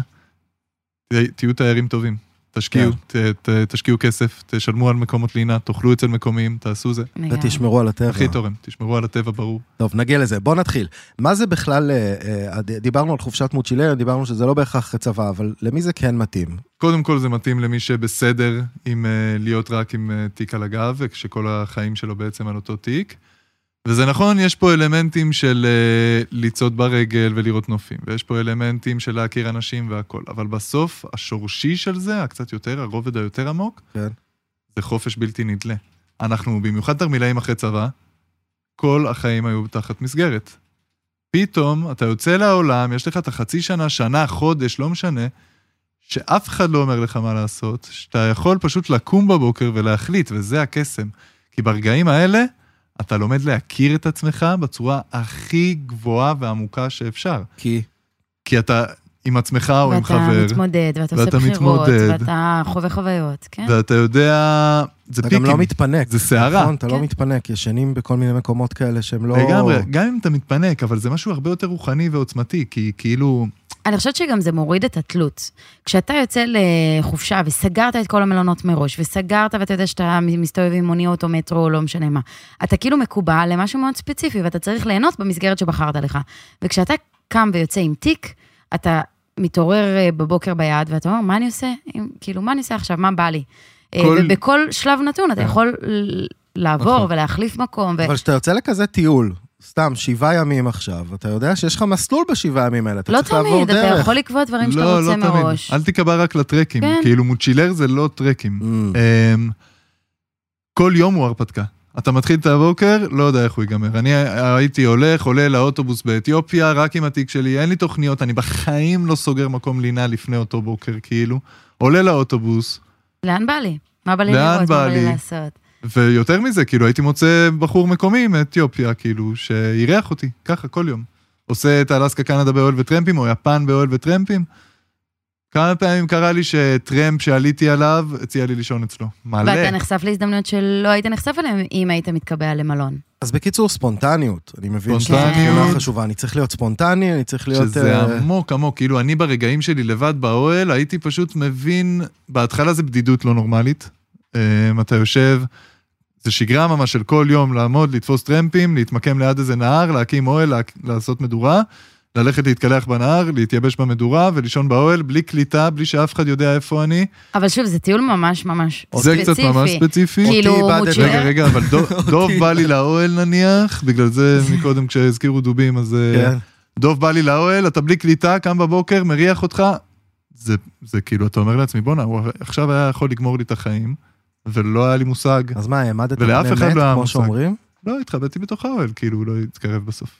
B: תה- תהיו תיירים טובים. תשקיעו, ת- ת- תשקיעו כסף, תשלמו על מקומות לינה, תאכלו אצל מקומיים, תעשו זה.
C: לגמרי.
A: ותשמרו על הטבע.
B: הכי תורם, תשמרו על הטבע ברור.
A: טוב, נגיע לזה. בוא נתחיל. מה זה בכלל, אה, אה, ד- דיברנו על חופשת מוצ'ילר, דיברנו שזה לא בהכרח צבא, אבל למי זה כן מתאים?
B: קודם כל זה מתאים למי שבסדר עם אה, להיות רק עם אה, תיק על הגב, כשכל החיים שלו בעצם על אותו תיק. וזה נכון, יש פה אלמנטים של אה, לצעוד ברגל ולראות נופים, ויש פה אלמנטים של להכיר אנשים והכול, אבל בסוף השורשי של זה, הקצת יותר, הרובד היותר עמוק,
A: כן.
B: זה חופש בלתי נדלה. אנחנו, במיוחד תרמילאים אחרי צבא, כל החיים היו תחת מסגרת. פתאום אתה יוצא לעולם, יש לך את החצי שנה, שנה, חודש, לא משנה, שאף אחד לא אומר לך מה לעשות, שאתה יכול פשוט לקום בבוקר ולהחליט, וזה הקסם. כי ברגעים האלה, אתה לומד להכיר את עצמך בצורה הכי גבוהה ועמוקה שאפשר.
A: כי...
B: כי אתה, עם עצמך או עם
C: ואתה
B: חבר,
C: מתמודד, ואתה עושה
B: ואתה
C: בחירות,
B: מתמודד.
C: ואתה חווה חוויות, כן?
B: ואתה יודע, זה
A: אתה גם
B: פיקים,
A: לא מתפנק.
B: זה סערה.
A: נכון, אתה לא
C: כן.
A: מתפנק, ישנים בכל מיני מקומות כאלה שהם לא...
B: לגמרי, גם אם אתה מתפנק, אבל זה משהו הרבה יותר רוחני ועוצמתי, כי כאילו,
C: אני חושבת שגם זה מוריד את התלות. כשאתה יוצא לחופשה וסגרת את כל המלונות מראש, וסגרת ואתה יודע שאתה מסתובב עם מוניות או מטרו או לא משנה מה, אתה כאילו מקובע למשהו מאוד ספציפי ואתה צריך ליהנות במסגרת שבחרת לך. וכשאתה קם ויוצא עם תיק, אתה מתעורר אה, בבוקר ביד ואתה אומר, מה אני עושה? עם- כאילו, מה אני עושה עכשיו? מה בא לי? אה,
B: כל-
C: ובכל שלב נתון אתה
B: כן.
C: יכול ל- לעבור
B: נכון.
C: ולהחליף מקום. ו-
A: אבל כשאתה יוצא לכזה טיול, סתם שבעה ימים עכשיו, אתה יודע שיש לך מסלול בשבעה ימים האלה, אתה
C: לא
A: צריך לעבור
C: תמיד,
A: דרך.
C: אתה יכול לקבוע דברים שאתה
B: לא,
C: רוצה
B: לא תמיד.
C: מראש.
B: אל תיקבע רק לטרקים,
C: כן.
B: כאילו מוצ'ילר זה לא טרקים.
A: Mm.
B: אמ, כל יום הוא הרפתקה. אתה מתחיל את הבוקר, לא יודע איך הוא ייגמר. אני הייתי הולך, עולה לאוטובוס באתיופיה, רק עם התיק שלי, אין לי תוכניות, אני בחיים לא סוגר מקום לינה לפני אותו בוקר, כאילו. עולה לאוטובוס,
C: לאן בא לי? מה בא לי
B: לאן
C: לראות?
B: בא
C: מה בא לי
B: לי?
C: לעשות?
B: ויותר מזה, כאילו, הייתי מוצא בחור מקומי מאתיופיה, כאילו, שאירח אותי, ככה, כל יום. עושה את אלסקה קנדה באוהל וטרמפים, או יפן באוהל וטרמפים. כמה פעמים קרה לי שטרמפ שעליתי עליו, הציע לי לישון אצלו. מלא.
C: ואתה נחשף להזדמנויות שלא היית נחשף אליהן אם היית מתקבע למלון.
A: אז בקיצור, ספונטניות. אני מבין שזו
B: ספונטניות.
A: תמונה חשובה, אני צריך להיות ספונטני, אני צריך להיות...
B: שזה
A: אה,
B: עמוק עמוק, כאילו אני ברגעים שלי לבד באוהל, הייתי פשוט מבין, בהתחלה זה בדידות לא נורמלית. אמ, אתה יושב, זה שגרה ממש של כל יום לעמוד, לתפוס טרמפים, להתמקם ליד איזה נהר, להקים אוהל, לה- לעשות מדורה, ללכת להתקלח בנהר, להתייבש במדורה ולישון באוהל, בלי קליטה, בלי שאף אחד יודע איפה אני.
C: אבל שוב, זה טיול ממש ממש
B: זה
C: ספציפי.
B: קצת ממש ספציפי.
A: אותי
C: כאילו,
A: איבדת.
C: מוצ'ילר.
B: רגע, רגע, אבל דוב- דוב בא לי לאוהל נניח, בגלל זה מקודם כשהזכירו דובים, אז... אה,
A: כן.
B: דוב בא לי לאוהל, אתה בלי קליטה, קם בבוקר, מריח אותך. זה, זה כאילו, אתה אומר לעצמי, בואנה, הוא עכשיו היה יכול לגמור לי את החיים, ולא היה לי מושג.
A: אז מה, העמדת
B: ולאף אחד לא היה
A: כמו
B: מושג.
A: שאומרים?
B: לא, התחבאתי בתוך האוהל, כאילו, הוא לא התקרב בסוף.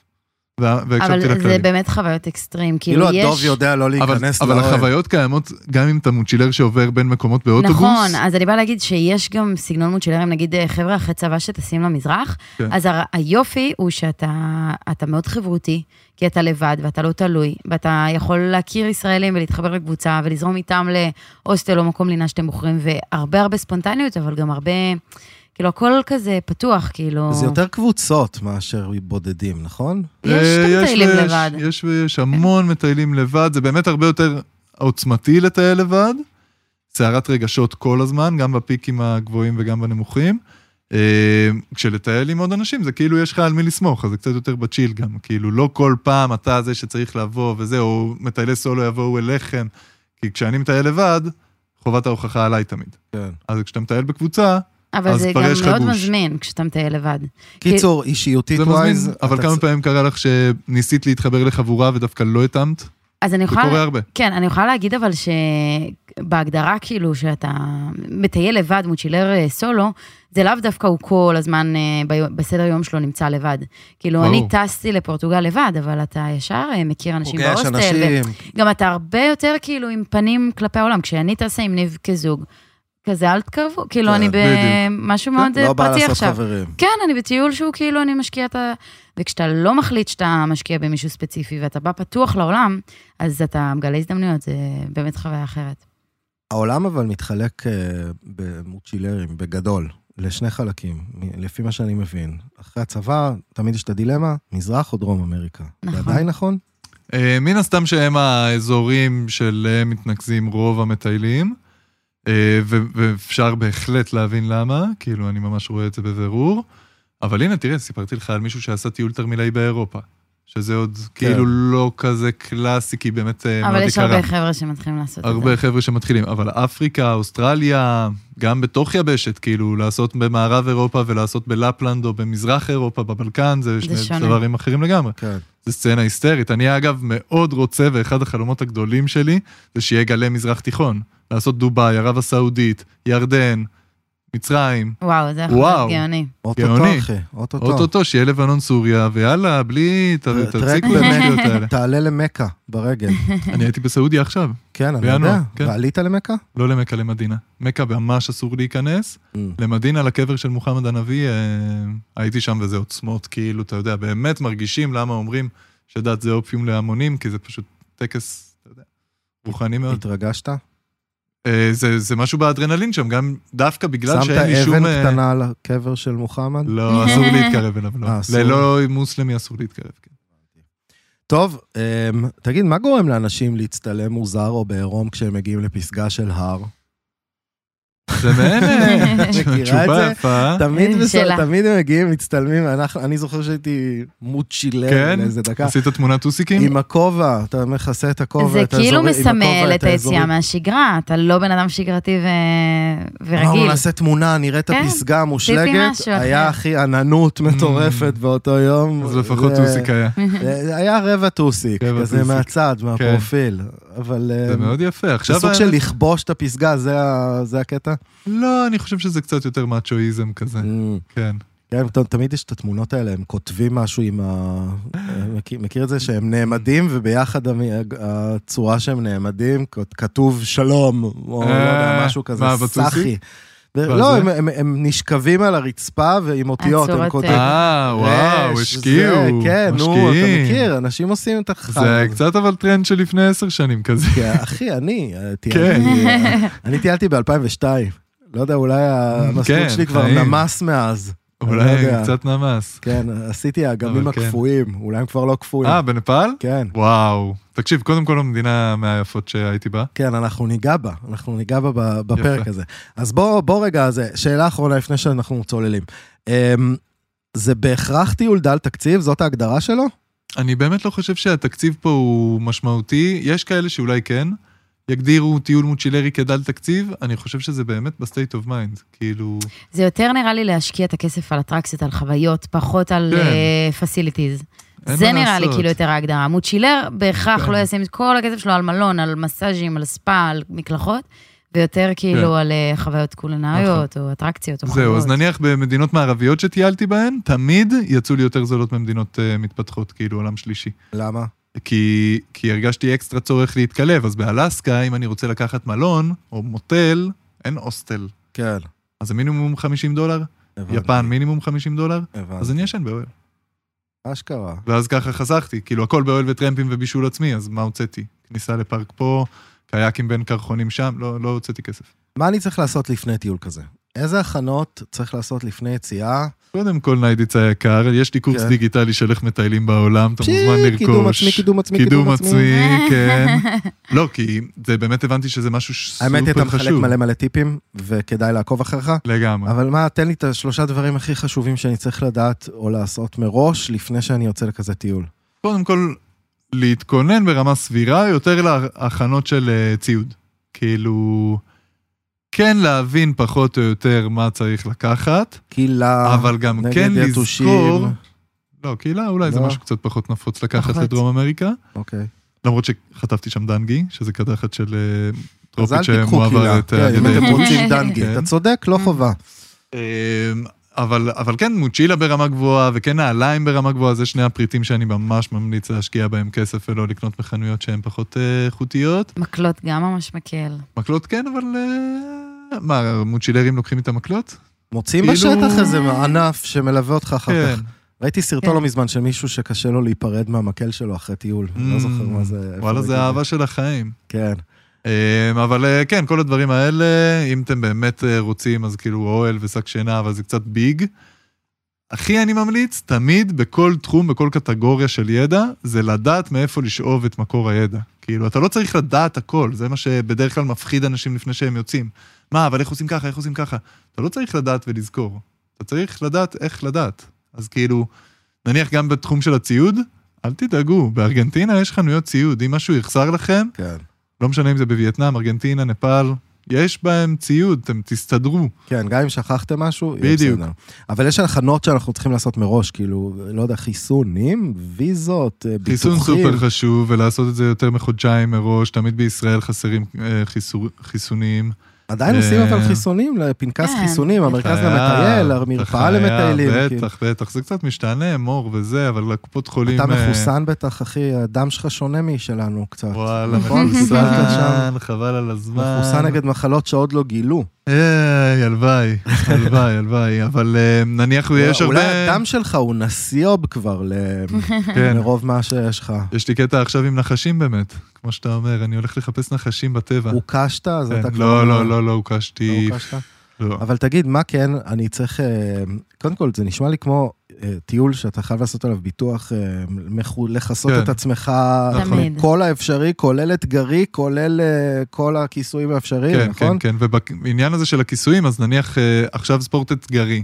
B: וה-
C: אבל
B: והקשבתי
C: זה
B: לכללים.
C: באמת חוויות אקסטרים. כאילו,
A: כאילו
C: יש...
A: הדוב יודע לא
B: אבל,
A: להיכנס
B: אבל
A: לאוהל.
B: החוויות קיימות גם אם אתה מוצ'ילר שעובר בין מקומות באוטובוס.
C: נכון, אז אני באה להגיד שיש גם סגנון מוצ'ילרים, נגיד אה, חבר'ה אחרי צבא שטסים למזרח,
B: כן.
C: אז הר- היופי הוא שאתה אתה מאוד חברותי, כי אתה לבד ואתה לא תלוי, ואתה יכול להכיר ישראלים ולהתחבר לקבוצה ולזרום איתם להוסטל או מקום לינה שאתם בוחרים, והרבה הרבה ספונטניות, אבל גם הרבה, כאילו הכל כזה פתוח, כאילו...
A: זה יותר קבוצות מאשר בודדים, נכון?
C: יש
B: אה,
C: גם טיילים
B: ויש-
C: לבד. כן.
B: יש ויש המון מטיילים לבד, זה באמת הרבה יותר עוצמתי לטייל לבד. סערת רגשות כל הזמן, גם בפיקים הגבוהים וגם בנמוכים. אה, כשלטייל עם עוד אנשים, זה כאילו יש לך על מי לסמוך, אז זה קצת יותר בצ'יל גם. כאילו, לא כל פעם אתה זה שצריך לבוא וזה, או מטיילי סולו יבואו אליכם. כי כשאני מטייל לבד, חובת ההוכחה עליי תמיד.
A: כן.
B: אז כשאתה מטייל בקבוצה,
C: אבל
B: אז
C: זה
B: כבר
C: גם
B: יש לך
C: מאוד
B: גוש.
C: מזמין כשאתה מטייל לבד.
A: קיצור, אישיותית
B: זה מזמין,
A: ווייז.
B: אבל
A: אתה
B: כמה
A: צ-
B: פעמים קרה לך שניסית להתחבר לחבורה ודווקא לא התאמת?
C: אז אני
B: זה
C: יכולה...
B: קורה הרבה.
C: כן, אני יכולה להגיד אבל שבהגדרה כאילו שאתה מטייל לבד, מוצ'ילר אה, סולו, זה לאו דווקא הוא כל הזמן אה, ביו- בסדר יום שלו נמצא לבד. כאילו,
B: ברור.
C: אני טסתי לפורטוגל לבד, אבל אתה ישר אה, מכיר אנשים
A: פוגש
C: בהוסטל.
A: אנשים.
C: גם אתה הרבה יותר כאילו עם פנים כלפי העולם. כשאני טסה עם ניב כזוג, כזה אל תקרבו, כאילו
A: כן,
C: אני
B: בדיוק.
C: במשהו מאוד אה,
A: לא בא
C: פרטי
A: לעשות
C: עכשיו.
A: חברים.
C: כן, אני בטיול שהוא כאילו, אני משקיע את ה... וכשאתה לא מחליט שאתה משקיע במישהו ספציפי ואתה בא פתוח לעולם, אז אתה מגלה הזדמנויות, זה באמת חוויה אחרת.
A: העולם אבל מתחלק אה, במוצ'ילרים, בגדול, לשני חלקים, מ- לפי מה שאני מבין. אחרי הצבא, תמיד יש את הדילמה, מזרח או דרום אמריקה.
C: נכון.
A: זה עדיין נכון?
B: אה, מן הסתם שהם האזורים שאליהם מתנקזים רוב המטיילים, אה, ו- ואפשר בהחלט להבין למה, כאילו אני ממש רואה את זה בבירור. אבל הנה, תראה, סיפרתי לך על מישהו שעשה טיול תרמילאי באירופה, שזה עוד כאילו לא כזה קלאסי, כי באמת אה, מאוד
C: כן. אבל יש
B: יקרה.
C: הרבה חבר'ה שמתחילים לעשות את זה.
B: הרבה חבר'ה שמתחילים, אבל אפריקה, אוסטרליה, גם בתוך יבשת, כאילו, לעשות במערב אירופה ולעשות בלפלנד או במזרח אירופה, בבלקן, זה שני
C: שונה.
B: דברים אחרים לגמרי.
A: כן.
B: זה סצנה היסטרית. אני אגב מאוד רוצה, ואחד החלומות הגדולים שלי, זה שיהיה גלי מזרח תיכון. לעשות דובאי, ערב הסעודית, ירדן, מצרים,
C: וואו, זה יכול
B: וואו.
C: להיות גאוני.
A: אוטוטו,
B: גאוני.
A: אחי, אוטוטו.
B: אוטוטו, שיהיה לבנון סוריה, ויאללה, בלי, ת-
A: ט-
B: תפסיק
A: טרק
B: עם
A: באמת. <laughs>
B: השטויות האלה.
A: תעלה למכה
C: <laughs>
A: ברגל.
B: אני הייתי בסעודיה עכשיו,
A: כן, אני
B: בינואר,
A: יודע.
B: כן.
A: ועלית למכה?
B: לא למכה, למדינה. מכה ממש אסור להיכנס. למדינה, לקבר של מוחמד הנביא, אה, הייתי שם וזה עוצמות, כאילו, אתה יודע, באמת מרגישים למה אומרים שדת זה אופיום להמונים, כי זה פשוט טקס, אתה יודע, רוחני מאוד.
A: Mm, התרגשת?
B: אה, זה, זה משהו באדרנלין שם, גם דווקא בגלל
A: שמת
B: שאין לי שום...
A: אבן
B: אה,
A: קטנה על הקבר של מוחמד?
B: לא, אסור להתקרב אליו, לא.
A: אה, אסור.
B: ללא מוסלמי אסור להתקרב, כן.
A: טוב, אמ, תגיד, מה גורם לאנשים להצטלם מוזר או בעירום כשהם מגיעים לפסגה של הר?
B: זה מעין <laughs> אה,
A: מכירה את
B: תשובה
A: זה?
B: יפה.
A: תמיד
C: אה,
A: בסוף,
C: שאלה.
A: תמיד הם מגיעים, מצטלמים, אנחנו- אני זוכר שהייתי מוצ'ילר
B: כן?
A: לאיזה דקה.
B: עשית תמונת טוסיקים?
A: עם הכובע, אתה מכסה את הכובע,
C: זה
A: את
C: כאילו
A: האזורים- עם
C: מסמל
A: הכובע,
C: את היציאה
A: האזורים.
C: מהשגרה, אתה לא בן אדם שגרתי ו...
A: אמרנו,
C: ורגיל.
A: נעשה תמונה, נראה את
C: כן,
A: הפסגה המושלגת.
C: משהו אחר.
A: היה הכי עננות מטורפת באותו יום.
B: Mm. אז לפחות
A: זה-
B: טוסיק היה.
A: זה היה רבע טוסיק,
B: רבע
A: כזה
B: טוסיק.
A: מהצד, מהפרופיל. אבל...
B: זה
A: אמ,
B: מאוד יפה.
A: זה
B: עכשיו...
A: סוג
B: ה-
A: של לכבוש את הפסגה, זה ה- זה הקטע?
B: לא, אני חושב שזה קצת יותר מאצ'ואיזם כזה,
A: אמ,
B: כן.
A: כן, ת- תמיד יש את התמונות האלה, הם כותבים משהו עם ה... מכיר- מכיר את זה שהם נעמדים, וביחד המ- הצורה שהם נעמדים, כ- כתוב שלום, או לא יודע,
B: אה,
A: משהו כזה,
B: מה, בטוסיק?
A: סאחי. ו-
B: בזה?
A: לא, הם- הם- הם נשכבים על הרצפה, ועם אותיות הם
C: הצורות,
A: כותבים.
B: אה, וואו,
A: רש,
B: השקיעו,
A: זה, כן, נו, אתה
B: משקיעים.
A: מכיר, אנשים עושים את החיים.
B: זה קצת אבל טרנד של לפני עשר שנים כזה.
A: כי אחי, אני אה,
B: כן.
A: טיילתי, אה, אני טיילתי ב-2002. לא יודע, אולי המסלול
B: כן,
A: שלי כבר
B: חיים.
A: נמס מאז. אני לא
B: אולי
A: יודע.
B: קצת נמס.
A: כן, עשיתי האגמים
B: אבל כן.
A: הקפואים, אולי הם כבר לא קפואים.
B: אה, בנפאל?
A: כן,
B: וואו. תקשיב, קודם כל המדינה מהיפות שהייתי בה.
A: כן, אנחנו ניגע בה, אנחנו ניגע בה ב- בפרק הזה. אז בוא, בוא רגע, זה, שאלה אחרונה לפני שאנחנו צוללים. אמ, זה בהכרח טיול דל תקציב? זאת ההגדרה שלו?
B: אני באמת לא חושב שהתקציב פה הוא משמעותי. יש כאלה שאולי כן. יגדירו טיול מוצ'ילרי כדל תקציב, אני חושב שזה באמת בסטייט אוף מיינד. כאילו,
C: <laughs> זה יותר נראה לי להשקיע את הכסף על אטרקציות, על חוויות, פחות על אה,
B: כן.
C: פסיליטיז.
B: אין
C: זה
B: מה
C: נראה לי
B: לעשות.
C: כאילו יותר ההגדרה. מוצ'ילר בהכרח
B: כן.
C: לא ישים את כל הכסף שלו על מלון, על מסאז'ים, על ספא, על מקלחות, ויותר
A: כן.
C: כאילו על אה, חוויות קולינריות,
A: נכון.
C: או אטרקציות, או
B: זהו, אז
C: חוויות.
B: נניח במדינות מערביות שטיילתי בהן, תמיד יצאו לי יותר זולות ממדינות אה, מתפתחות, כאילו עולם שלישי.
A: למה?
B: כי, כי הרגשתי אקסטרה צורך להתקלב, אז באלסקה, אם אני רוצה לקחת מלון או מוטל, אין הוסטל.
A: כן,
B: אז זה מינימום 50 דולר,
A: הבנתי.
B: יפן מינימום 50 דולר,
A: הבנתי.
B: אז אני ישן באוהל.
A: אשכרה.
B: ואז ככה חסכתי, כאילו הכל באוהל וטרמפים ובישול עצמי, אז מה הוצאתי? כניסה לפארק פה, קייקים בין קרחונים שם, לא, לא הוצאתי כסף.
A: מה אני צריך לעשות לפני טיול כזה? איזה הכנות צריך לעשות לפני יציאה?
B: קודם כל, ניידיץ היקר, יש לי קורס
A: כן.
B: דיגיטלי של איך מטיילים בעולם, אתה מוזמן
A: שי,
B: לרכוש.
A: קידום עצמי, קידום עצמי,
B: קידום
C: <laughs>
B: עצמי, כן. לא, כי זה באמת הבנתי שזה משהו סופר חשוב.
A: האמת היא, אתה מחלק מלא מלא טיפים, וכדאי לעקוב אחריך.
B: לגמרי.
A: אבל מה, תן לי את השלושה דברים הכי חשובים שאני צריך לדעת או לעשות מראש, לפני שאני יוצא לכזה טיול.
B: קודם כל, להתכונן ברמה סבירה יותר להכנות של אה, ציוד. כאילו, כן להבין פחות או יותר מה צריך לקחת,
A: קהילה,
B: אבל גם
A: אה, נגד
B: כן
A: יתושים.
B: לזכור... לא, קהילה אולי זה
A: לא.
B: משהו קצת פחות נפוץ לקחת
C: פחות.
B: לדרום אמריקה.
A: אוקיי.
B: למרות שחטפתי שם דנגי, שזה קדחת של אה,
A: אז אל
B: טרופית
A: תיקחו קהילה.
B: שמועברת
A: כן,
B: אה, על
A: אם
B: ידי... <laughs>
A: אתם רוצים דנגי,
B: כן.
A: אתה צודק, לא חובה.
B: אמ, אבל, אבל כן מוצ'ילה ברמה גבוהה, וכן נעליים ברמה גבוהה, זה שני הפריטים שאני ממש ממליץ להשקיע בהם כסף ולא לקנות מחנויות שהן פחות אה, איכותיות.
C: מקלות גם ממש מקל.
B: מקלות כן, אבל... אה, מה, מוצ'ילרים לוקחים איתם מקלות?
A: מוצאים
B: כאילו-
A: בשטח איזה ענף שמלווה אותך אחר
B: כן.
A: כך. ראיתי סרטון
C: כן.
A: לא מזמן של מישהו שקשה לו להיפרד מהמקל שלו אחרי טיול. לא זוכר מה זה. איפה
B: Mm. וואלה,
A: ראיתי
B: זה
A: את
B: אהבה של החיים.
A: כן.
B: אמ, אבל אה, כן, כל הדברים האלה, אם אתם באמת אה, רוצים, אז כאילו אוהל ושק שינה, אבל זה קצת ביג. הכי אני ממליץ, תמיד בכל תחום, בכל קטגוריה של ידע, זה לדעת מאיפה לשאוב את מקור הידע. כאילו, אתה לא צריך לדעת הכל, זה מה שבדרך כלל מפחיד אנשים לפני שהם יוצאים. מה, אבל איך עושים ככה, איך עושים ככה? אתה לא צריך לדעת ולזכור, אתה צריך לדעת איך לדעת. אז כאילו, נניח גם בתחום של הציוד, אל תדאגו, בארגנטינה יש חנויות ציוד, אם משהו יחסר לכם,
A: כן.
B: לא משנה אם זה בווייטנאם, ארגנטינה, נפאל, יש בהם ציוד, אתם תסתדרו.
A: כן, גם אם שכחתם משהו, יהיה
B: בדיוק.
A: בסדר. אבל יש הכנות שאנחנו צריכים לעשות מראש, כאילו, לא יודע, חיסונים, ויזות, אה, ביטוחים.
B: חיסון סופר חשוב, ולעשות את זה יותר מחודשיים מראש, תמיד בישראל חסרים אה, חיסור- חיסונים.
A: עדיין עושים
B: אה,
A: אבל חיסונים, לפנקס
C: כן.
A: חיסונים, המרכז
B: חייב,
A: למטייל,
B: אתה
A: המרפאה
B: חייב,
A: למטיילים. כאילו.
B: בטח, בטח, זה קצת משתנה, מור וזה, אבל הקופות חולים...
A: אתה
B: אה,
A: מחוסן בטח, אחי, הדם שלך שונה משלנו קצת.
B: וואלה,
A: נכון? קיבלת שם.
B: מחוסן, חבל על הזמן.
A: מחוסן נגד מחלות שעוד לא גילו.
B: היי, הלוואי, הלוואי, הלוואי, אבל אה, נניח הוא יש הרבה...
A: אולי הדם שלך הוא נסיוב כבר ל-
B: כן,
A: מרוב מה שיש לך.
B: יש לי קטע עכשיו עם נחשים באמת, כמו שאתה אומר, אני הולך לחפש נחשים בטבע.
A: הוקשת, אז
B: כן,
A: אתה כבר...
B: לא, לא, לא, לא
A: לא
B: הוקשתי.
A: הוקשת?
B: לא.
A: אבל תגיד, מה כן, אני צריך... אה, קודם כל, זה נשמע לי כמו אה, טיול שאתה חייב לעשות עליו ביטוח, אה, מחו- לכסות
B: כן.
A: את עצמך,
B: נכון.
C: תמיד.
A: כל האפשרי, כולל אתגרי, כולל אה, כל הכיסויים האפשריים,
B: כן, כן,
A: נכון?
B: כן, ובעניין הזה של הכיסויים, אז נניח אה, עכשיו ספורט אתגרי.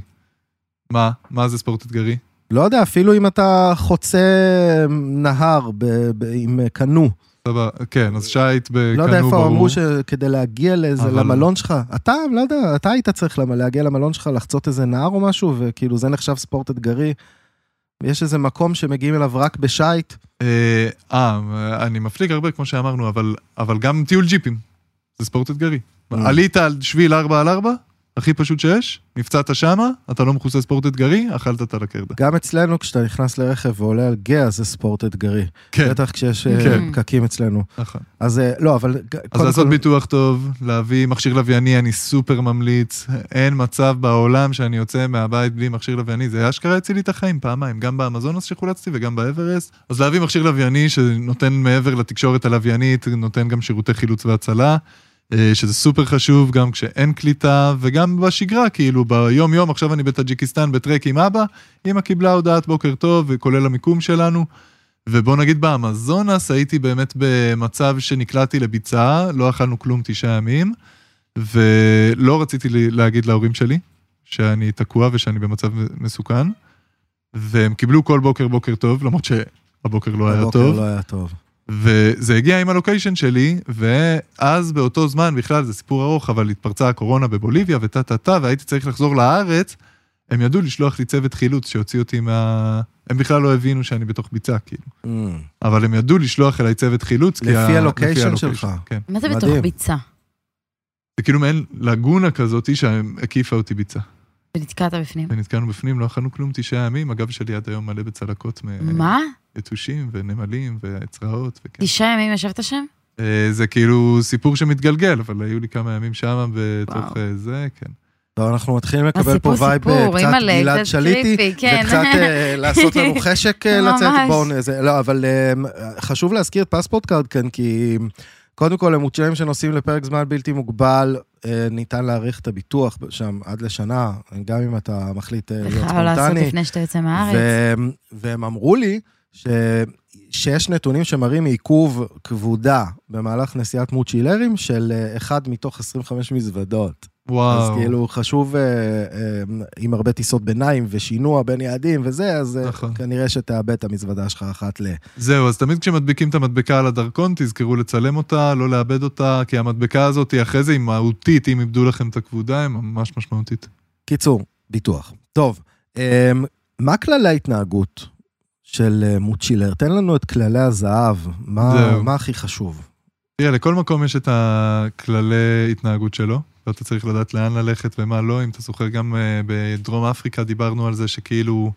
B: מה? מה זה ספורט אתגרי?
A: לא יודע, אפילו אם אתה חוצה אה, נהר ב- ב- עם אה, קנו,
B: סבבה, כן, אז שייט בקנו ברור.
A: לא יודע איפה אמרו שכדי להגיע לאיזה,
B: אבל-
A: למלון שלך, אתה, לא יודע, אתה היית צריך למה, להגיע למלון שלך, לחצות איזה נהר או משהו, וכאילו זה נחשב ספורט אתגרי. יש איזה מקום שמגיעים אליו רק בשייט.
B: אה, אה, אני מפליג הרבה, כמו שאמרנו, אבל- אבל גם טיול ג'יפים. זה ספורט אתגרי.
A: Mm.
B: עלית על שביל 4 על 4, הכי פשוט שיש, נפצעת שמה, אתה לא מכוסה ספורט אתגרי, אכלת את הלקרדה.
A: גם אצלנו, כשאתה נכנס לרכב ועולה על גאה, זה ספורט אתגרי.
B: כן,
A: בטח כשיש אה,
C: כן.
A: פקקים אצלנו.
B: נכון.
A: אז אה, לא, אבל... ג-
B: אז
A: קודם
B: לעשות
A: כל-
B: ביטוח טוב, להביא מכשיר לווייני, אני סופר ממליץ. אין מצב בעולם שאני יוצא מהבית בלי מכשיר לווייני, זה אשכרה הציל לי את החיים פעמיים, גם באמזונס שחולצתי וגם באברסט. אז להביא מכשיר לווייני שנותן מעבר לתקשורת הלוויינית, נותן גם שירותי חילוץ והצלה, אה, שזה סופר חשוב גם כשאין קליטה וגם בשגרה, כאילו ביום-יום, עכשיו אני בטאג'יקיסטן בטרק עם אבא, אמא קיבלה הודעת בוקר טוב, וכולל המיקום שלנו. ובוא נגיד באמזונס הייתי באמת במצב שנקלעתי לביצה, לא אכלנו כלום תשעה ימים, ולא רציתי לי- להגיד להורים שלי שאני תקוע ושאני במצב מסוכן, והם קיבלו כל בוקר בוקר טוב, למרות שהבוקר לא היה
A: הבוקר
B: טוב.
A: לא היה טוב.
B: וזה הגיע עם הלוקיישן שלי, ואז באותו זמן, בכלל זה סיפור ארוך, אבל התפרצה הקורונה בבוליביה וטה טה טה, והייתי צריך לחזור לארץ, הם ידעו לשלוח לי צוות חילוץ שהוציא אותי מה... הם בכלל לא הבינו שאני בתוך ביצה, כאילו.
A: Mm.
B: אבל הם ידעו לשלוח אליי צוות חילוץ, כי
A: לפי
B: ה-
A: הלוקיישן שלך.
B: כן.
C: מה זה בתוך
A: מדהים.
C: ביצה?
B: זה כאילו מעין לגונה כזאת שהקיפה אותי ביצה.
C: ונתקעת בפנים.
B: ונתקענו בפנים, לא אכלנו כלום תשעה ימים, הגב שלי עד היום מלא בצלקות
A: כן.
C: מה?
B: מיתושים ונמלים וצרעות. וכן.
C: תשעה ימים ישבת שם?
B: אה, זה כאילו סיפור שמתגלגל, אבל היו לי כמה ימים שם בתוך
C: וואו.
B: אה, זה, כן.
A: טוב, אנחנו מתחילים לקבל פה
C: הסיפור
A: וייב
C: סיפור,
A: אה, קצת
C: אימא'לה,
A: גלעד
C: קצת
A: שליטי,
C: קריפי, כן.
A: וקצת
C: <laughs>
A: אה, לעשות לנו חשק אה,
C: ממש.
A: לצאת, בואו נזה, לא, אבל אה, חשוב להזכיר את פספורט קארד כאן, כי קודם כל הם מוצ'רים שנוסעים לפרק זמן בלתי מוגבל, אה, ניתן להאריך את הביטוח שם עד לשנה, גם אם אתה מחליט אה, להיות
C: לך
A: ספונטני.
C: לא לעשות לפני שאתה יוצא מהארץ.
A: והם, והם אמרו לי ש, שיש נתונים שמראים עיכוב כבודה במהלך נסיעת מוצ'ילרים של אה, אחד מתוך 25 מזוודות.
B: וואו.
A: אז כאילו חשוב אה, אה, עם הרבה טיסות ביניים ושינוע בין יעדים וזה, אז אה,
B: נכון.
A: כנראה שתאבד את המזוודה שלך אחת ל...
B: זהו, אז תמיד כשמדביקים את המדבקה על הדרכון, תזכרו לצלם אותה, לא לאבד אותה, כי המדבקה הזאת היא אחרי זה היא מהותית, אם איבדו לכם את הכבודה, היא ממש משמעותית.
A: קיצור, ביטוח. טוב, אה, מה כללי ההתנהגות של אה, מוצ'ילר? תן לנו את כללי הזהב, מה,
B: זהו.
A: מה הכי חשוב?
B: תראה, לכל מקום יש את הכללי התנהגות שלו, ואתה צריך לדעת לאן ללכת ומה לא. אם אתה זוכר, גם אה, בדרום אפריקה דיברנו על זה שכאילו,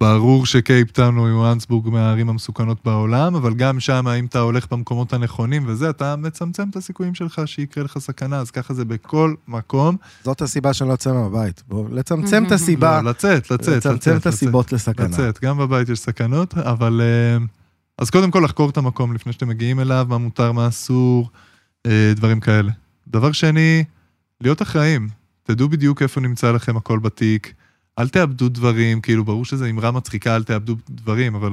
B: ברור שקייפטאון הוא יוהנסבורג מהערים המסוכנות בעולם, אבל גם שם, אם אתה הולך במקומות הנכונים וזה, אתה מצמצם את הסיכויים שלך שיקרה לך סכנה, אז ככה זה בכל מקום.
A: זאת הסיבה שאני לא יוצא מהבית. בואו, לצמצם
B: <laughs>
A: את הסיבה.
B: לא, לצאת, לצאת, לצאת.
A: לצמצם את
B: לצאת.
A: הסיבות לסכנה.
B: לצאת, גם בבית יש סכנות, אבל... אה, אז קודם כל לחקור את המקום לפני שאתם מגיעים אליו, מה מותר, מה אסור, אה, דברים כאלה. דבר שני, להיות אחראים. תדעו בדיוק איפה נמצא לכם הכל בתיק. אל תאבדו דברים, כאילו, ברור שזו אמרה מצחיקה, אל תאבדו דברים, אבל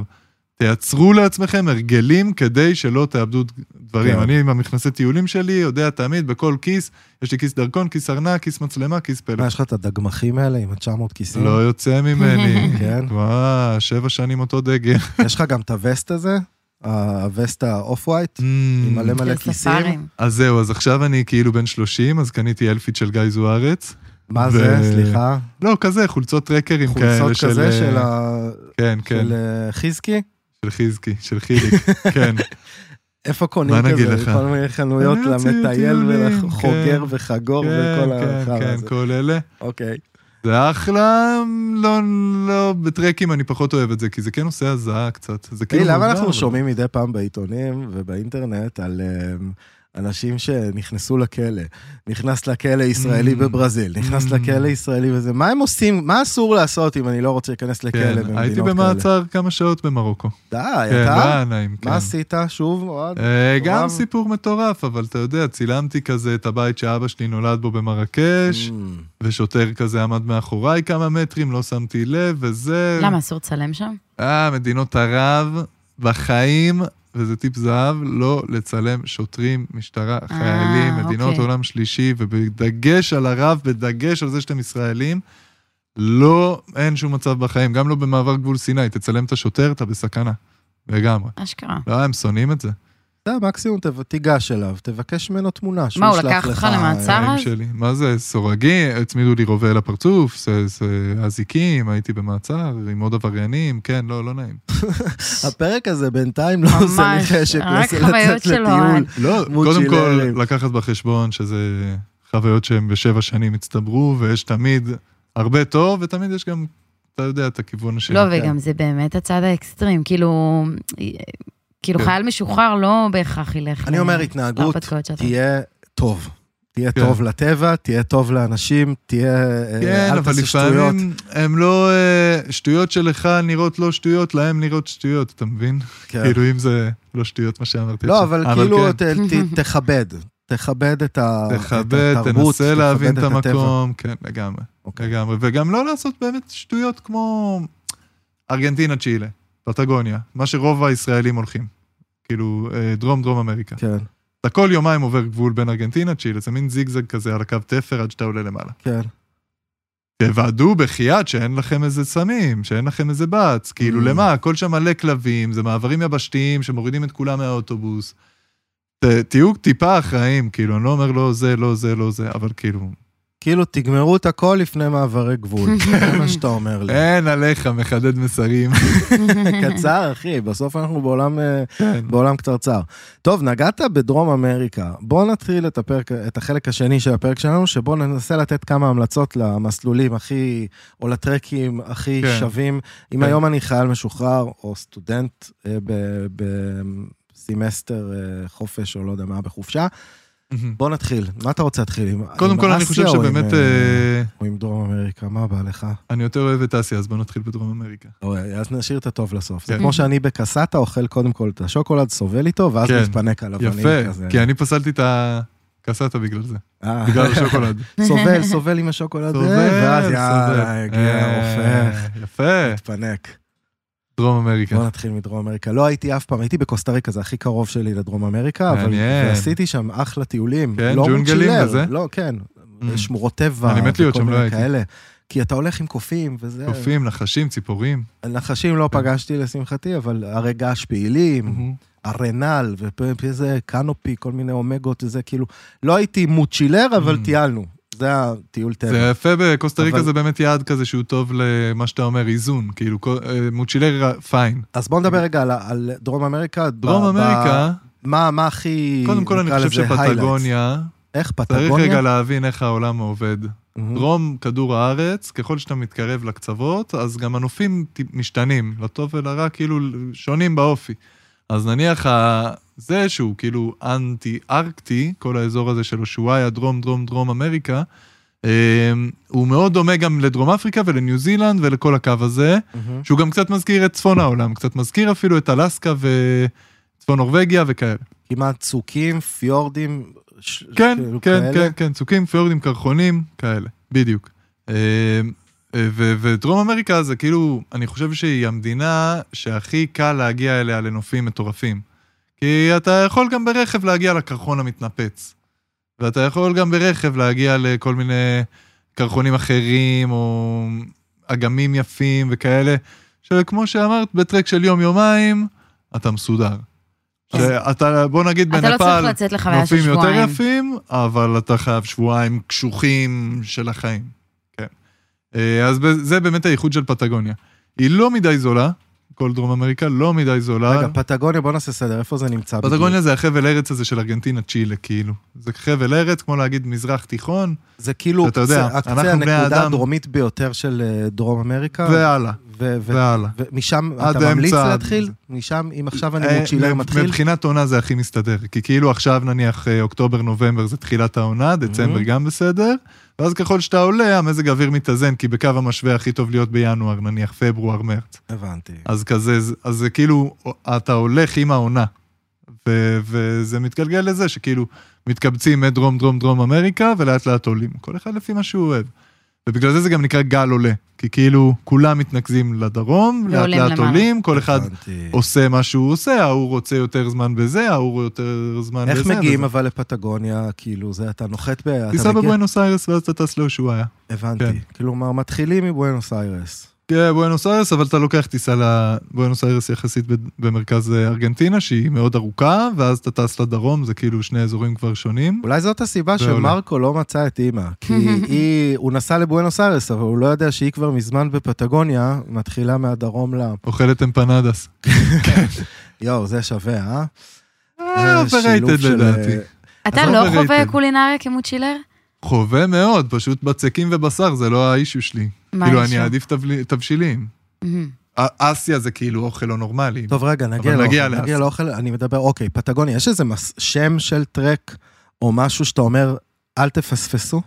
B: תייצרו לעצמכם הרגלים כדי שלא תאבדו ד- דברים.
A: כן.
B: אני עם המכנסי טיולים שלי יודע תמיד, בכל כיס, יש לי כיס דרכון, כיס ארנק, כיס מצלמה, כיס
A: מה,
B: פלאפון.
A: יש לך את הדגמחים האלה עם ה-900 כיסים?
B: לא יוצא ממני.
A: <laughs> כן.
B: וואה, שבע שנים אותו דגל.
A: יש לך גם את הווסט הזה? ה- הווסט האוף ווייט?
B: <laughs>
A: עם מלא מלא
C: של
A: כיסים?
C: ספארים.
B: Hmm. אז זהו, אז עכשיו אני כאילו בן 30, אז קניתי אלפיט של גיא זוארץ.
A: מה
B: ו-
A: זה? סליחה.
B: לא, כזה, חולצות טרקרים כאלה
A: חולצות
B: של...
A: כזה
B: אה,
A: של ה-
B: כן, כן,
A: של אה, חיזקי?
B: של חיזקי, של
A: <laughs>
B: חיליק, כן.
A: איפה קונים
B: מה נגיד
A: כזה?
B: לך?
A: כל מיני חנויות
B: אני אוציא
A: למטייל
B: טיולים,
A: ולחוגר
B: כן.
A: וחגור
B: כן,
A: וכל
B: כן,
A: החרא
B: כן,
A: הזה.
B: כל אלה.
A: אוקיי.
B: זה אחלה, לא, לא, בטרקים אני פחות אוהב את זה, כי זה כן עושה הזעה קצת. זה כאילו...
A: תגיד, למה
B: מוזר,
A: אנחנו
B: אבל-
A: שומעים מדי פעם בעיתונים ובאינטרנט על... אה, אנשים שנכנסו לכלא, נכנס לכלא ישראלי
B: Mm.
A: בברזיל, נכנס
B: Mm.
A: לכלא ישראלי וזה, מה הם עושים, מה אסור לעשות אם אני לא רוצה להיכנס לכלא במדינות
B: כן,
A: כאלה?
B: הייתי במעצר כמה שעות במרוקו.
A: די,
B: כן, לא
A: אתה?
B: היה נעים, כן.
A: מה עשית? שוב, אוהד?
B: אה,
A: מטורף?
B: גם סיפור מטורף, אבל אתה יודע, צילמתי כזה את הבית שאבא שלי נולד בו במרקש,
A: Mm.
B: ושוטר כזה עמד מאחוריי כמה מטרים, לא שמתי לב, וזה...
C: למה, אסור לצלם שם?
B: אה, מדינות ערב, בחיים, וזה טיפ זהב, לא לצלם שוטרים, משטרה, חיילים, מדינות
C: אה, אוקיי.
B: עולם שלישי, ובדגש על ערב, בדגש על זה שאתם ישראלים, לא, אין שום מצב בחיים, גם לא במעבר גבול סיני, תצלם את השוטר, אתה בסכנה, לגמרי.
C: אשכרה.
B: לא, הם שונאים את זה.
A: אתה מקסימום ת- תיגש אליו, תבקש ממנו תמונה, שהוא
C: מה, הוא
A: ישלח לך...
C: לקח אותך למעצר?
B: החיים
C: אז?
B: שלי. מה זה, סורגים, הצמידו לי רובה לפרצוף, ס- ס- אזיקים, הייתי במעצר עם עוד עבריינים, כן, לא, לא נעים.
A: הפרק הזה בינתיים לא עושה לי
C: ממש,
A: חשק
C: רק
A: לצאת
C: חוויות
A: לצאת
C: של
A: לטיול.
C: אוהד.
B: לא, קודם
A: מוצ'ילרים.
B: כל, לקחת בחשבון שזה חוויות שהן בשבע שנים הצטברו, ויש תמיד הרבה טוב, ותמיד יש גם, אתה יודע, את הכיוון השני.
C: לא, וגם זה באמת הצד האקסטרים, כאילו, כאילו
B: כן.
C: חייל משוחרר לא בהכרח ילך.
A: אני
C: ל-
A: אומר, התנהגות
C: להרפתקאות שאתה-
A: תהיה טוב. תהיה
B: כן.
A: טוב לטבע, תהיה טוב לאנשים, תהיה... אה,
B: כן,
A: אל
B: אבל
A: תעשה שטויות.
B: לפעמים הם לא... אה, שטויות שלך נראות לא שטויות, להם נראות שטויות, אתה מבין?
A: כן.
B: כאילו, אם זה לא שטויות, מה שאמרתי
A: לא,
B: עכשיו.
A: אבל כאילו,
B: כן,
A: ת- ת- תכבד. תכבד את ה- את
B: תכבד,
A: התרבות,
B: תנסה להבין את
A: הטבע.
B: המקום, כן, לגמרי.
A: אוקיי.
B: לגמרי, וגם לא לעשות באמת שטויות כמו ארגנטינה, צ'ילה, פטגוניה, מה שרוב הישראלים הולכים, כאילו אה, דרום דרום אמריקה.
A: כן,
B: אתה כל יומיים עובר גבול בין ארגנטינה, צ'ילה, זה מין זיגזג כזה על הקו תפר עד שאתה עולה למעלה.
A: כן.
B: תוודאו בחייאת שאין לכם איזה סמים, שאין לכם איזה בץ, כאילו
A: Mm.
B: למה, הכל שם מלא כלבים, זה מעברים יבשתיים שמורידים את כולם מהאוטובוס. ת- תהיו טיפה אחראים, כאילו, אני לא אומר לא זה, לא זה, לא זה, אבל כאילו,
A: כאילו, תגמרו את הכל לפני מעברי גבול. זה מה שאתה אומר לי.
B: אין עליך, מחדד מסרים.
A: <laughs>
B: <laughs>
A: קצר, אחי, בסוף אנחנו בעולם אה,
B: כן.
A: בעולם קצרצר. טוב, נגעת בדרום אמריקה. בוא נתחיל את, הפרק, את החלק השני של הפרק שלנו, שבו ננסה לתת כמה המלצות למסלולים הכי, או לטרקים הכי כן.
B: כן.
A: שווים. אם
B: כן.
A: היום אני חייל משוחרר, או סטודנט אה, ב- בסמסטר אה, חופש, או לא יודע מה, בחופשה, בוא נתחיל. מה אתה רוצה להתחיל? עם, עם
B: קודם כל, אני
A: אסיה
B: חושב
A: או עם,
B: שבאמת,
A: אה,
B: אה,
A: או עם דרום אמריקה, מה בא לך?
B: אני יותר אוהב את אסיה, אז בוא נתחיל בדרום אמריקה.
A: אוי, אז נשאיר את הטוב לסוף. זה
B: כן.
A: כמו שאני בקסטה אוכל קודם כל את השוקולד, סובל איתו, ואז
B: כן.
A: מתפנק עליו. אני כזה.
B: יפה, כן, כי אני פסלתי את הקסטה בגלל זה,
A: אה. <laughs>
B: בגלל השוקולד.
A: סובל, סובל עם השוקולד, אה,
B: סובל,
A: ואז יאללה,
B: סובל.
A: הגיע הרופא,
B: אה, יפה,
A: התפנק.
B: דרום אמריקה.
A: בוא נתחיל מדרום אמריקה. לא הייתי אף פעם, הייתי בקוסטה ריקה, זה הכי קרוב שלי לדרום אמריקה, אבל
B: מעניין.
A: עשיתי שם אחלה טיולים.
B: כן,
A: לא
B: ג'ונגלים
A: מוצ'ילר,
B: וזה? Mm.
A: לא, כן, שמורות טבע,
B: אני מת להיות
A: וכל
B: שם,
A: מיני
B: לא הייתי.
A: כאלה. כי אתה הולך עם קופים וזה.
B: קופים, כן. נחשים, ציפורים.
A: נחשים לא פגשתי לשמחתי, אבל הרי געש פעילים,
B: מהמם.
A: ארנל, ואיזה קנופי, כל מיני אומגות וזה, כאילו, לא הייתי מוצ'ילר, אבל
B: Mm.
A: טיילנו. זה הטיול טבע.
B: זה יפה בקוסטה ריקה,
A: אבל-
B: זה באמת יעד כזה שהוא טוב למה שאתה אומר, איזון. כאילו, כל- אה, מוצ'ילר פיין.
A: אז בוא נדבר רגע על, על דרום אמריקה. ב-
B: אוקיי. דרום
A: ב-
B: אמריקה,
A: מה, מה הכי...
B: קודם כל אני
A: נקרא
B: חושב
A: לזה highlights?
B: שפטגוניה,
A: איך
B: צריך
A: פטגוניה?
B: רגע להבין איך העולם עובד.
A: מהמם.
B: דרום כדור הארץ, ככל שאתה מתקרב לקצוות, אז גם הנופים ט- משתנים, לטוב ולרע, כאילו שונים באופי. אז נניח ה- זה שהוא כאילו אנטי-ארקטי, כל האזור הזה של אושוויה, דרום, דרום, דרום אמריקה, אמ, הוא מאוד דומה גם לדרום אפריקה ולניו זילנד ולכל הקו הזה,
A: מהמם.
B: שהוא גם קצת מזכיר את צפון העולם, קצת מזכיר אפילו את אלסקה וצפון נורבגיה וכאלה.
A: כמעט צוקים, פיורדים, ש...
B: כן,
A: כאילו
B: כן,
A: כאלה.
B: כן, כן, צוקים, פיורדים, קרחונים, כאלה, בדיוק. אה, אה, ו- ודרום אמריקה זה כאילו, אני חושב שהיא המדינה שהכי קל להגיע אליה לנופים מטורפים. כי אתה יכול גם ברכב להגיע לקרחון המתנפץ. ואתה יכול גם ברכב להגיע לכל מיני קרחונים אחרים, או אגמים יפים וכאלה, שכמו שאמרת, בטרק של יום-יומיים, אתה מסודר. שאתה, בוא נגיד
C: אתה
B: בנפאל...
C: לא צריך לצאת לחוויה של
B: נופים יותר
C: שבועיים.
B: יפים, אבל אתה חייב שבועיים קשוחים של החיים. כן. אה, אז ב- זה באמת הייחוד של פטגוניה. היא לא מדי זולה, כל דרום אמריקה לא מדי זולה.
A: רגע, פטגוניה, בוא נעשה סדר, איפה זה נמצא? בדיוק?
B: פטגוניה זה החבל ארץ הזה של ארגנטינה, צ'ילה, כאילו. זה חבל ארץ, כמו להגיד מזרח תיכון,
A: זה כאילו
B: אתה יודע,
A: הקצה
B: אנחנו בני
A: הנקודה
B: האדם.
A: הדרומית ביותר של אה, דרום אמריקה.
B: והלאה.
A: ו- ו-
B: והלאה.
A: ומשם
B: עד
A: אתה ממליץ
B: האמצע.
A: להתחיל? משם, אם עכשיו אני
B: אה,
A: מוצ'ילר
B: מב-
A: מתחיל?
B: מבחינת עונה זה הכי מסתדר, כי כאילו עכשיו נניח אה, אוקטובר-נובמבר זה תחילת העונה, דצמבר
A: Mhm.
B: גם בסדר, ואז ככל שאתה עולה המזג האוויר מתאזן, כי בקו המשווה הכי טוב להיות בינואר, נניח פברואר-מרץ.
A: הבנתי.
B: אז כזה, זה- אז זה כאילו, אתה הולך עם העונה. ו- וזה מתגלגל לזה שכאילו מתקבצים מדרום דרום דרום אמריקה ולאט לאט עולים, כל אחד לפי מה שהוא אוהב. ובגלל זה זה גם נקרא גל עולה, כי כאילו כולם מתנקזים לדרום, לאט
C: ועולים
B: לאט
C: למעלה.
B: עולים, כל אחד אוקיי,
A: הבנתי.
B: עושה מה שהוא עושה, ההוא רוצה יותר זמן בזה, ההוא יותר זמן בזה.
A: איך מגיעים
B: וזה.
A: אבל לפטגוניה, כאילו, זה, אתה נוחת ב... אתה
B: טיסה
A: מגיע-
B: בבואנוס איירס ואז אתה טס להושעיה. כן.
A: הבנתי. כאילו, כלומר, מתחילים מבואנוס איירס.
B: כן, בואנוס איירס, אבל אתה לוקח טיסה לבואנוס איירס יחסית ב- במרכז אה, ארגנטינה, שהיא מאוד ארוכה, ואז אתה טס לדרום, זה כאילו שני אזורים כבר שונים.
A: אולי זאת הסיבה
B: זה עולה.
A: שמרקו לא מצא את אימא, כי היא, הוא נסע לבואנוס איירס, אבל הוא לא יודע שהיא כבר מזמן בפטגוניה, מתחילה מהדרום ל...
B: אוכלת אמפנדס.
A: יואו, זה שווה, אה?
B: אה,
A: זה שילוב
B: אופרייטד
A: של,
B: לדעתי.
A: אה,
C: אתה
B: אז
C: לא
B: overrated.
C: חווה קולינריה כמוצ'ילר?
B: חווה מאוד, פשוט בצקים ובשר זה לא האישיו שלי.
C: מה
B: כאילו,
C: יש
B: אני
C: שם?
B: אעדיף תבלי- תבשילים.
C: מהמם.
B: א- אסיה זה כאילו אוכל לא נורמלי.
A: טוב, רגע, נגיע
B: אבל
A: לאוכל.
B: נגיע
A: נגיע
B: לאסיה.
A: לאוכל, אני מדבר, אוקיי, פטגוניה, יש איזה מס- שם של טרק, או משהו שאתה אומר, אל תפספסו?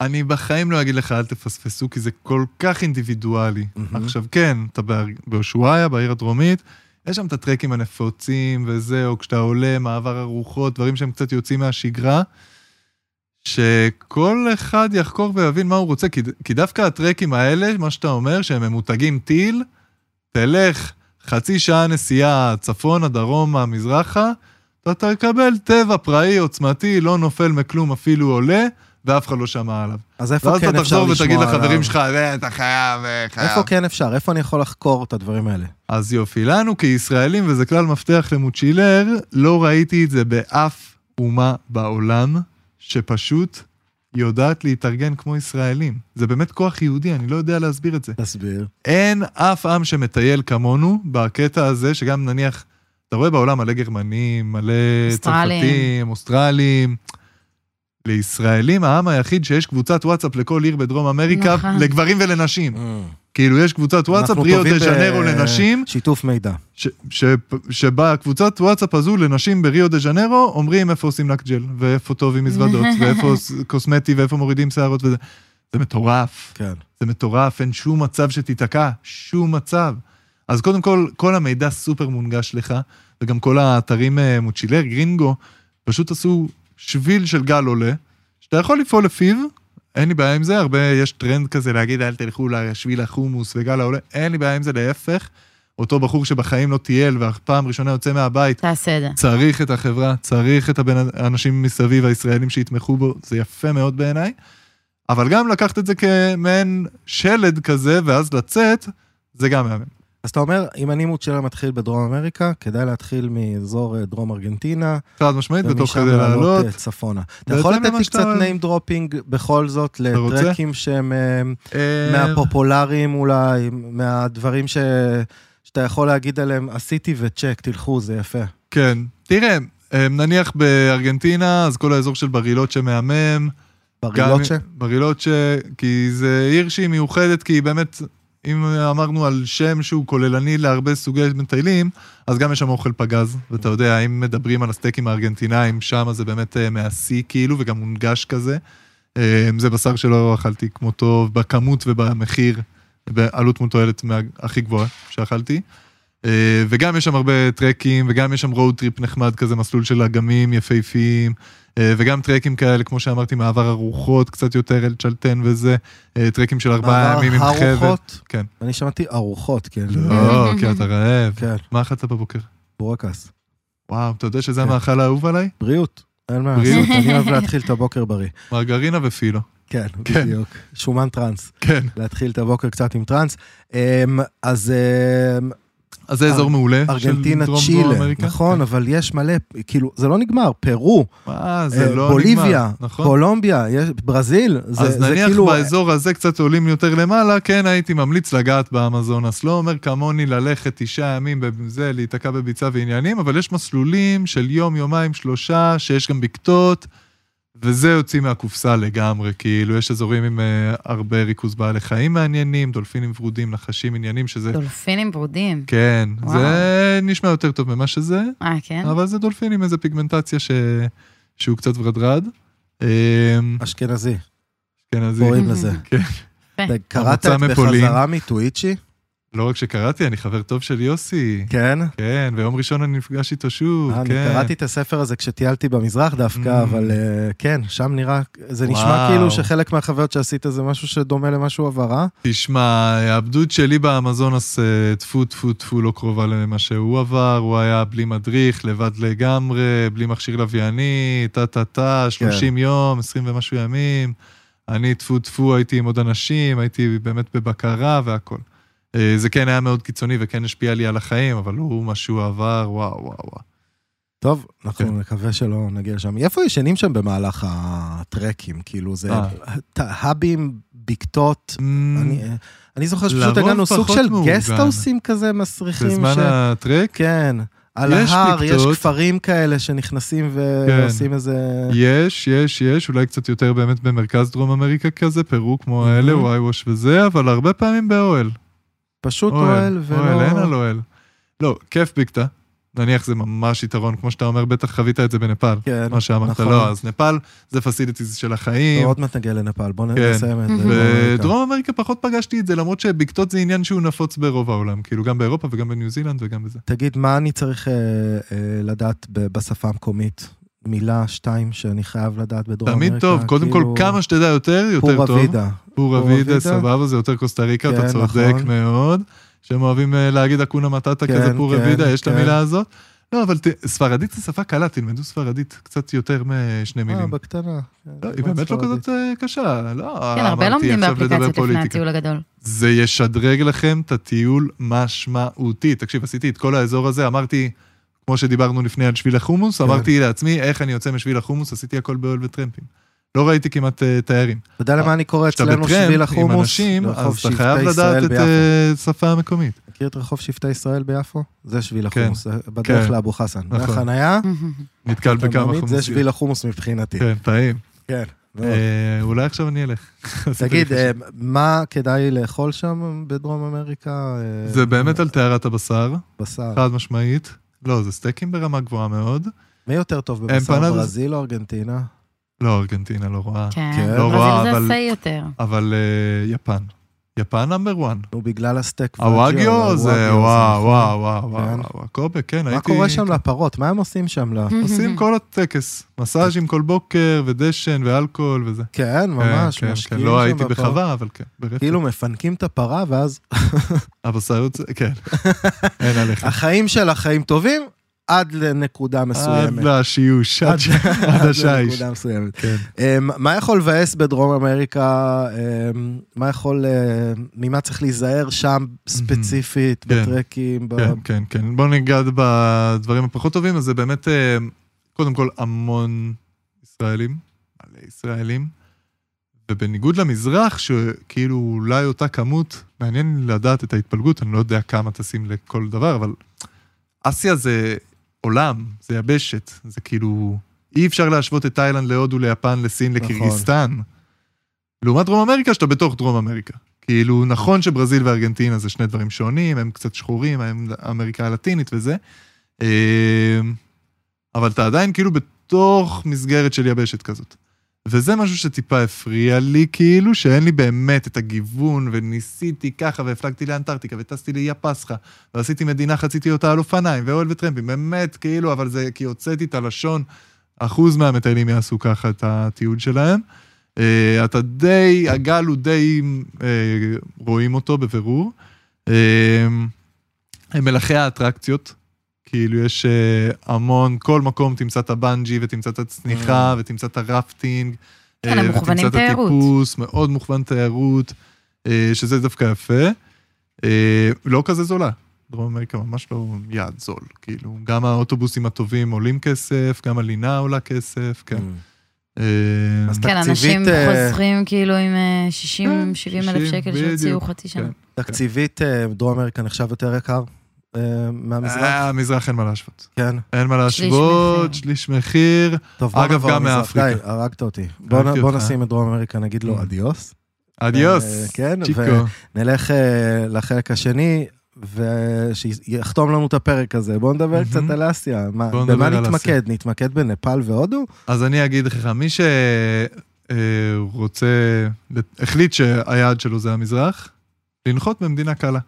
B: אני בחיים לא אגיד לך אל תפספסו, כי זה כל כך אינדיבידואלי.
A: מהמם.
B: עכשיו כן, אתה בהר- בהושעיה, בעיר הדרומית, יש שם את הטרקים הנפוצים וזה, או כשאתה עולה, מעבר הרוחות, דברים שהם קצת יוצאים מהשגרה, שכל אחד יחקור ויבין מה הוא רוצה, כי, כי דווקא הטרקים האלה, מה שאתה אומר, שהם ממותגים טיל, תלך חצי שעה נסיעה צפונה, דרומה, מזרחה, אתה תקבל טבע פראי, עוצמתי, לא נופל מכלום, אפילו עולה, ואף אחד לא שמע עליו.
A: אז איפה
B: ואז
A: כן
B: אתה
A: אפשר
B: תחזור
A: לשמוע
B: ותגיד לחברים
A: עליו?
B: שלך, "אה, אתה חייב, אה, חייב.
A: איפה כן אפשר? איפה אני יכול לחקור את הדברים האלה?
B: אז יופי, לנו כישראלים, וזה כלל מפתח למוצ'ילר, לא ראיתי את זה באף אומה בעולם שפשוט יודעת להתארגן כמו ישראלים. זה באמת כוח יהודי, אני לא יודע להסביר את זה.
A: תסביר.
B: אין אף עם שמטייל כמונו בקטע הזה, שגם נניח, אתה רואה בעולם מלא גרמנים, מלא
C: אוסטרלים.
B: צרפתים, אוסטרלים. לישראלים, העם היחיד שיש קבוצת וואטסאפ לכל עיר בדרום אמריקה,
C: נכון.
B: לגברים ולנשים. כאילו, יש קבוצת וואטסאפ,
A: אנחנו
B: ריו
A: טובים
B: דה ז'נרו
A: ב-
B: לנשים,
A: שיתוף מידע.
B: ש- ש- שבקבוצת וואטסאפ הזו לנשים בריו דה ז'נרו אומרים איפה עושים נקג'ל, ואיפה טוב עם
C: <laughs>
B: מזוודות, ואיפה ס- קוסמטי, ואיפה מורידים שערות וזה. זה מטורף,
A: כן.
B: זה מטורף, אין שום מצב שתיתקע, שום מצב. אז קודם כל, כל המידע סופר מונגש לך, וגם כל האתרים אה, מוצ'ילר, גרינגו, פשוט עשו שביל של גל עולה, שאתה יכול לפעול לפיו, אין לי בעיה עם זה, הרבה, יש טרנד כזה להגיד, אל תלכו לשביל החומוס וגל העולה, אין לי בעיה עם זה, להפך. אותו בחור שבחיים לא טייל, והפעם ראשונה יוצא מהבית,
C: תעשה את זה.
B: צריך את החברה, צריך את הבן- האנשים מסביב, הישראלים שיתמכו בו, זה יפה מאוד בעיניי. אבל גם לקחת את זה כמעין שלד כזה, ואז לצאת, זה גם מהמם.
A: אז אתה אומר, אם הנימות שלה מתחיל בדרום אמריקה, כדאי להתחיל מאזור אה, דרום ארגנטינה,
B: חד משמעית, ותוך
A: ומשם
B: כדי לעלות.
A: לעלות אה, צפונה. אתה
B: בהתאם
A: יכול לתת
B: למה
A: לי
B: שאתה
A: קצת
B: אוהב.
A: name dropping בכל זאת
B: רוצה?
A: לטרקים שהם אה,
B: אה,
A: מהפופולריים אולי, מהדברים ש... שאתה יכול להגיד עליהם, עשיתי וצ'ק, תלכו, זה יפה.
B: כן. תראה, אה, נניח בארגנטינה, אז כל האזור של ברילות שמהמם.
A: ברילוצ'ה?
B: גם- ברילוצ'ה, כי זה עיר שהיא מיוחדת, כי היא באמת, אם אמרנו על שם שהוא כוללני להרבה סוגי מטיילים, אז גם יש שם אוכל פגז, ואתה יודע, אם מדברים על הסטייקים הארגנטינאים, שם זה באמת אה, מהשיא כאילו, וגם מונגש כזה. אה, זה בשר שלא אכלתי כמותו בכמות ובמחיר, בעלות מול תועלת מה- הכי גבוהה שאכלתי. אה, וגם יש שם הרבה טרקים, וגם יש שם road trip נחמד כזה, מסלול של אגמים יפהפיים, אה, וגם טרקים כאלה, כמו שאמרתי, מעבר הרוחות, קצת יותר אל צ'לטן וזה, אה, טרקים של ארבעה
A: מעבר
B: ימים עם חבר.
A: ארוחות?
B: כן.
A: אני שמעתי ארוחות, כן.
B: לא, כי אתה רעב.
A: כן,
B: מה אכלת בבוקר?
A: בורקס.
B: וואו, אתה יודע שזה
A: כן.
B: המאכל האהוב עליי?
A: בריאות, אין מה
B: בריאות.
A: לעשות, אני אוהב להתחיל את הבוקר בריא.
B: מרגרינה ופילו.
A: כן,
B: כן.
A: בדיוק. שומן טראנס.
B: כן.
A: להתחיל את הבוקר קצת עם טראנס. אמ, אז אמ,
B: אז זה
A: אר-
B: אזור מעולה. של
A: ארגנטינה,
B: דרום- דרום
A: צ'ילה,
B: אמריקה. כן.
A: נכון, אבל יש מלא, כאילו, זה לא נגמר, פרו,
B: מה,
A: אה,
B: זה לא נגמר.
A: בוליביה,
B: נכון.
A: קולומביה, יש- ברזיל, זה
B: אז
A: זה
B: נניח
A: כאילו...
B: באזור הזה קצת עולים יותר למעלה, כן הייתי ממליץ לגעת באמזונס. לא אומר כמוני ללכת תשעה ימים בזה, להיתקע בביצה ועניינים, אבל יש מסלולים של יום, יומיים, שלושה, שיש גם בקתות, וזה יוצאים מהקופסה לגמרי, כאילו יש אזורים עם אה, הרבה ריכוז בעלי חיים מעניינים, דולפינים ורודים, נחשים עניינים, שזה...
C: דולפינים ברודים.
B: כן,
C: וואו.
B: זה נשמע יותר טוב ממה שזה,
C: אה, כן?
B: אבל זה דולפין עם איזה פיגמנטציה ש... שהוא קצת ורדרד. אמ,
A: אשכנזי,
B: כן, אז
A: קוראים
C: היא-
A: לזה.
B: כן.
A: אתה קראת את
B: המוצא מפולין.
A: בחזרה מטוויצ'י?
B: לא רק שקראתי, אני חבר טוב של יוסי.
A: כן.
B: כן, ביום ראשון אני נפגש איתו שוב,
A: אה, אני
B: כן.
A: קראתי את הספר הזה כשטיילתי במזרח דווקא,
B: Mm.
A: אבל אה, כן, שם נראה, זה נשמע
B: וואו.
A: כאילו שחלק מהחוויות שעשית זה משהו שדומה למה שהוא עבר, אה?
B: תשמע, העבדות שלי באמזונס, אה, טפו טפו טפו, לא קרובה למה שהוא עבר, הוא היה בלי מדריך, לבד לגמרי, בלי מכשיר לווייני, טה טה טה,
A: כן.
B: 30 יום, 20 ומשהו ימים. אני טפו טפו, הייתי עם עוד אנשים, הייתי באמת בבקרה והכל. אה, זה כן היה מאוד קיצוני וכן השפיע לי על החיים, אבל לא מה שהוא עבר, וואו וואו וואו.
A: טוב,
B: כן.
A: אנחנו נקווה שלא נגיע לשם. איפה ישנים שם במהלך הטרקים? כאילו, זה
B: אה.
A: ת- האבים, בקתות. אני- אה, אני זוכר שפשוט
B: לרוב
A: הגענו סוג
B: פחות
A: של
B: מאורגן.
A: גסטהאוסים כזה מסריחים.
B: בזמן
A: ש-
B: הטרק,
A: כן, על
B: יש
A: ההר, יש
B: בקתות.
A: כפרים כאלה שנכנסים
B: כן.
A: ועושים איזה...
B: יש, יש, יש, אולי קצת יותר באמת במרכז דרום אמריקה כזה, פרו כמו האלה,
A: מהמם.
B: וואי ווש וזה, אבל הרבה פעמים באוהל.
A: פשוט אוהל
B: אוהל, אין על
A: ולא...
B: אוהל. לא, כיף בקתה. נניח זה ממש יתרון, כמו שאתה אומר, בטח חווית את זה בנפאל.
A: כן,
B: מה שאמרת,
A: נכון.
B: לא, אז נפאל זה פסיליטיז של החיים.
A: עוד מעט נגיע לנפאל, בואו
B: כן.
A: נסיים את זה.
B: בדרום אמריקה פחות פגשתי את זה, למרות שבקתות זה עניין שהוא נפוץ ברוב העולם, כאילו גם באירופה וגם בניו זילנד וגם בזה.
A: תגיד, מה אני צריך אה, אה, לדעת ב- בשפה המקומית? מילה, שתיים, שאני חייב לדעת בדרום אמריקה.
B: תמיד טוב, קודם כל
A: כאילו,
B: כמה שתדע יותר, יותר
A: פורה
B: טוב.
A: וידה.
B: פורה
A: פורה
B: וידה,
A: וידה.
B: סבבה, זה יותר קוסטה ריקה,
A: כן,
B: אתה צודק
A: נכון.
B: מאוד. שהם אוהבים אה, להגיד אקונה מטאטה
A: כן,
B: כזה פורה
A: כן,
B: וידה, יש את
A: כן.
B: המילה הזאת. לא, אבל ת- ספרדית זו שפה קלה, תלמדו ספרדית קצת יותר משני
A: אה,
B: מילים.
A: בקטנה.
B: לא, היא באמת לא
A: ספרדית.
B: כזאת אה, קשה, לא
C: כן, הרבה
B: אמרתי
C: לומדים
B: עכשיו לדבר
C: באפליקציות לפני
B: פוליטיקה.
C: הטיול הגדול.
B: זה ישדרג לכם את הטיול משמעותי. תקשיב, עשיתי את כל האזור הזה, אמרתי, כמו שדיברנו לפני על שביל החומוס,
A: כן.
B: אמרתי לעצמי, איך אני יוצא משביל החומוס, עשיתי הכל באוהל וטרמפים. לא ראיתי כמעט אה, תיירים.
A: אתה יודע למה אני קורא
B: כשאתה
A: אצלנו
B: בטרמפ
A: שביל
B: עם
A: החומוס?
B: אנשים,
A: לרחוב
B: לא, אז אתה
A: שבטי
B: חייב לדעת
A: ישראל
B: את
A: ביפו.
B: אה, השפה המקומית.
A: מכיר את רחוב שבטי ישראל ביפו? זה שביל
B: כן.
A: החומוס, זה בדרך
B: כן.
A: לאבו חסן.
B: נכון.
A: מהחנייה,
B: נתקל
A: אה, אתה
B: בכמה
A: מאמין?
B: חומוסים.
A: זה שביל החומוס מבחינתי.
B: כן, טעים.
A: כן. מאוד.
B: אה, אולי עכשיו אני אלך.
A: תגיד, אה, מה כדאי לאכול שם בדרום אמריקה? אה,
B: זה באמת אה, על טהרת הבשר,
A: בשר.
B: חד משמעית. לא, זה סטייקים ברמה גבוהה מאוד.
A: מי יותר טוב בבשר,
B: אמפנדס.
A: ברזיל או ארגנטינה?
B: לא, ארגנטינה לא רואה.
C: כן,
A: כן.
B: לא רע,
C: ברזיל זה
B: אבל-
C: עשה יותר.
B: אבל אה, יפן. יפן נאמבר 1.
A: נו, בגלל הסטייק
B: הוואגיו זה וואו,
A: נכון.
B: וואו, וואו, וואו,
A: כן.
B: וואו. קובה, כן,
A: מה
B: הייתי...
A: קורה שם לפרות? מה הם עושים שם? ל-
C: <laughs>
B: עושים כל הטקס. מסאז'ים כל בוקר, ודשן, ואלכוהול וזה.
A: כן, ממש,
B: כן, כן,
A: משקיעים
B: כן.
A: שם
B: לא הייתי כן.
A: בפרות.
B: בחווה, אבל כן, ברפת.
A: כאילו מפנקים את הפרה, ואז
B: הבשר יוצא, כן. אין עליך.
A: החיים שלה חיים טובים עד לנקודה
B: עד
A: מסוימת.
B: לשיוש, עד ש- <laughs> עד השיש.
A: לנקודה מסוימת.
B: כן.
A: אמ, מה יכול לבאס בדרום אמריקה? אמ, מה יכול... אה, ממה צריך להיזהר שם ספציפית,
B: כן.
A: בטרקים? ב-
B: כן, כן, כן. בואו ניגע בדברים הפחות טובים, אז זה באמת, אה, קודם כל, המון ישראלים, מלא ישראלים, ובניגוד למזרח, שכאילו אולי אותה כמות, מעניין לי לדעת את ההתפלגות, אני לא יודע כמה טסים לכל דבר, אבל אסיה זה עולם, זה יבשת, זה כאילו, אי אפשר להשוות את תאילנד להודו, ליפן, לסין,
A: נכון.
B: לקירגיסטן. לעומת דרום אמריקה, שאתה בתוך דרום אמריקה. כאילו, נכון שברזיל וארגנטינה זה שני דברים שונים, הם קצת שחורים, הם אמריקה הלטינית וזה, אמ, אבל אתה עדיין כאילו בתוך מסגרת של יבשת כזאת. וזה משהו שטיפה הפריע לי, כאילו, שאין לי באמת את הגיוון, וניסיתי ככה, והפלגתי לאנטארקטיקה, וטסתי לאי הפסחא, ועשיתי מדינה, חציתי אותה על אופניים, ואוהל וטרמפים, באמת, כאילו, אבל זה כי הוצאתי את הלשון, אחוז מהמטיילים יעשו ככה את הטיול שלהם. אה, אתה די, הגל הוא די, אה, רואים אותו בבירור. אה, הם מלאכי האטרקציות, כאילו יש אה, המון, כל מקום תמצא את הבנג'י ותמצא את הצניחה ותמצא את הרפטינג.
C: כן, הם
B: אה,
C: מוכוונים
B: ותמצא את
C: תיירות.
B: הטיפוס, מאוד מוכוון תיירות, אה, שזה דווקא יפה. אה, לא כזה זולה. דרום אמריקה ממש לא יעד זול, כאילו, גם האוטובוסים הטובים עולים כסף, גם הלינה עולה כסף, כן.
A: אמ,
B: אה,
A: Mm. אז
C: כן, אנשים
A: תקציבית, אה,
C: חוזרים כאילו עם
B: כן,
C: 60-70 אלף
B: 60,
C: שקל שהוציאו
B: בדיוק,
C: חצי שנה.
B: כן.
A: תקציבית אה, דרום אמריקה נחשב יותר יקר אה, מהמזרח?
B: אה, מזרח אין מה להשוות.
A: כן.
B: אין מה
C: שליש
B: להשוות,
C: מחיר.
B: שליש מחיר.
A: טוב, בוא
B: אגב,
A: נעבור
B: גם
A: למזרח.
B: מאפריקה.
A: די, הרגת אותי. בוא
B: הרגתי
A: נ- בוא
B: אותך.
A: נשים את דרום אמריקה, נגיד לו
B: Mm.
A: אדיוס.
B: אדיוס,
A: אה, כן, ו-
B: צ'יקו.
A: נלך אה, לחלק השני, ושיחתום לנו את הפרק הזה. בואו נדבר
B: מהמם.
A: קצת על אסיה. מה-
B: בואו
A: במה
B: נדבר על
A: נתמקד? נתמקד בנפאל והודו?
B: אז אני אגיד לך, מי שרוצה, החליט שהיעד שלו זה המזרח, לנחות במדינה קלה.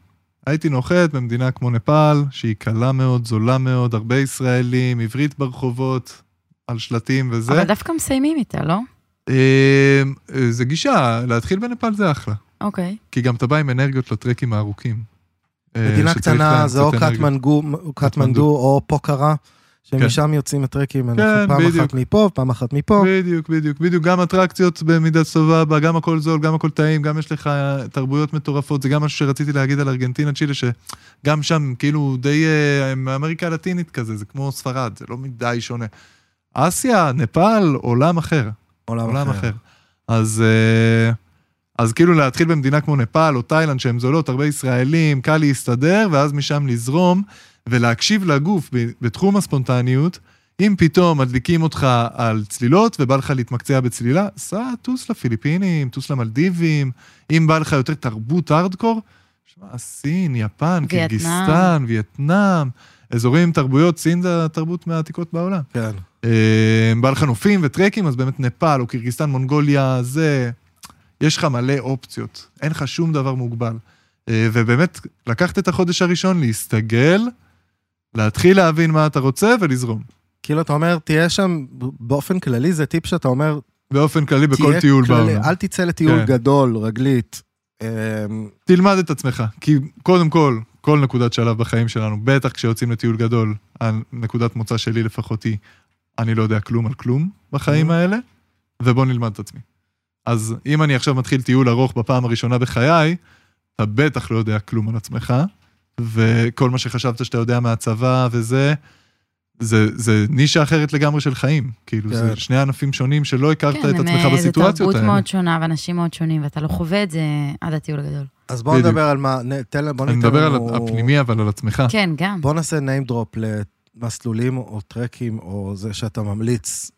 B: הייתי נוחת במדינה כמו נפאל, שהיא קלה מאוד, זולה מאוד, הרבה ישראלים, עברית ברחובות, על שלטים וזה.
C: אבל דווקא מסיימים איתה, לא?
B: אה, אה, זה גישה, להתחיל בנפאל זה אחלה.
C: אוקיי.
B: כי גם אתה בא עם אנרגיות לטרקים הארוכים. אה,
A: מדינה
B: שצריך
A: קטנה
B: להם
A: זה
B: קצת
A: או
B: אנרגיות.
A: קטמנגו, קטמנדו
B: קטמנדו.
A: או פוקרה, שמשם יוצאים הטרקים, אנחנו
B: כן,
A: פעם אחת
B: בדיוק. כן,
A: מפה, פעם אחת מפה.
B: בדיוק, בדיוק, בדיוק. גם אטרקציות במידה סבבה, גם הכל זול, גם הכל טעים, גם יש לך תרבויות מטורפות. זה גם משהו שרציתי להגיד על ארגנטינה, צ'ילה, שגם שם כאילו די אה, מאמריקה הלטינית כזה, זה כמו ספרד, זה לא מדי שונה. אסיה, נפאל, עולם אחר. עולם
A: אוקיי.
B: אחר. אז, אה, אז כאילו להתחיל במדינה כמו נפאל או תאילנד שהן זולות, הרבה ישראלים, קל להסתדר, ואז משם לזרום ולהקשיב לגוף ב- בתחום הספונטניות. אם פתאום מדליקים אותך על צלילות ובא לך להתמקצע בצלילה, סע, טוס לפיליפינים, טוס למלדיבים. אם בא לך יותר תרבות ארדקור, שמע, סין, יפן,
C: וייטנאם.
B: קירגיסטן, וייטנאם, אזורים עם תרבויות, סין זה התרבות מהעתיקות בעולם.
A: כן.
B: אה, בא לך נופים וטרקים, אז באמת נפאל או קירגיסטן, מונגוליה, זה... יש לך מלא אופציות, אין לך שום דבר מוגבל. אה, ובאמת, לקחת את החודש הראשון, להסתגל, להתחיל להבין מה אתה רוצה ולזרום.
A: כאילו אתה אומר, תהיה שם, באופן כללי זה טיפ שאתה אומר,
B: באופן כללי, בכל
A: תהיה
B: טיול
A: כללי,
B: בעולם.
A: אל תצא לטיול
B: כן.
A: גדול, רגלית. אמ,
B: תלמד את עצמך, כי קודם כל, כל נקודת שלב בחיים שלנו, בטח כשיוצאים לטיול גדול, נקודת מוצא שלי לפחות היא, אני לא יודע כלום על כלום בחיים
A: Mhm.
B: האלה, ובוא נלמד את עצמי. אז אם אני עכשיו מתחיל טיול ארוך בפעם הראשונה בחיי, אתה בטח לא יודע כלום על עצמך, וכל מה שחשבת שאתה יודע מהצבא וזה, זה, זה נישה אחרת לגמרי של חיים. כאילו,
A: כן.
B: זה שני ענפים שונים שלא הכרת את
C: הם,
B: עצמך
C: אה, זו
B: בסיטואציות
C: תרבות
B: האלה.
C: מאוד שונה ואנשים מאוד שונים, ואתה לא חווה את זה עד הטיול הגדול.
A: אז בואו
B: בדיוק.
A: נדבר על מה, נ- תן לה- בוא
B: אני
A: ניתן
B: מדבר על
A: לנו-
B: הפנימי, אבל על עצמך.
C: כן, גם.
A: בוא נעשה name drop למסלולים או טרקים או זה שאתה ממליץ.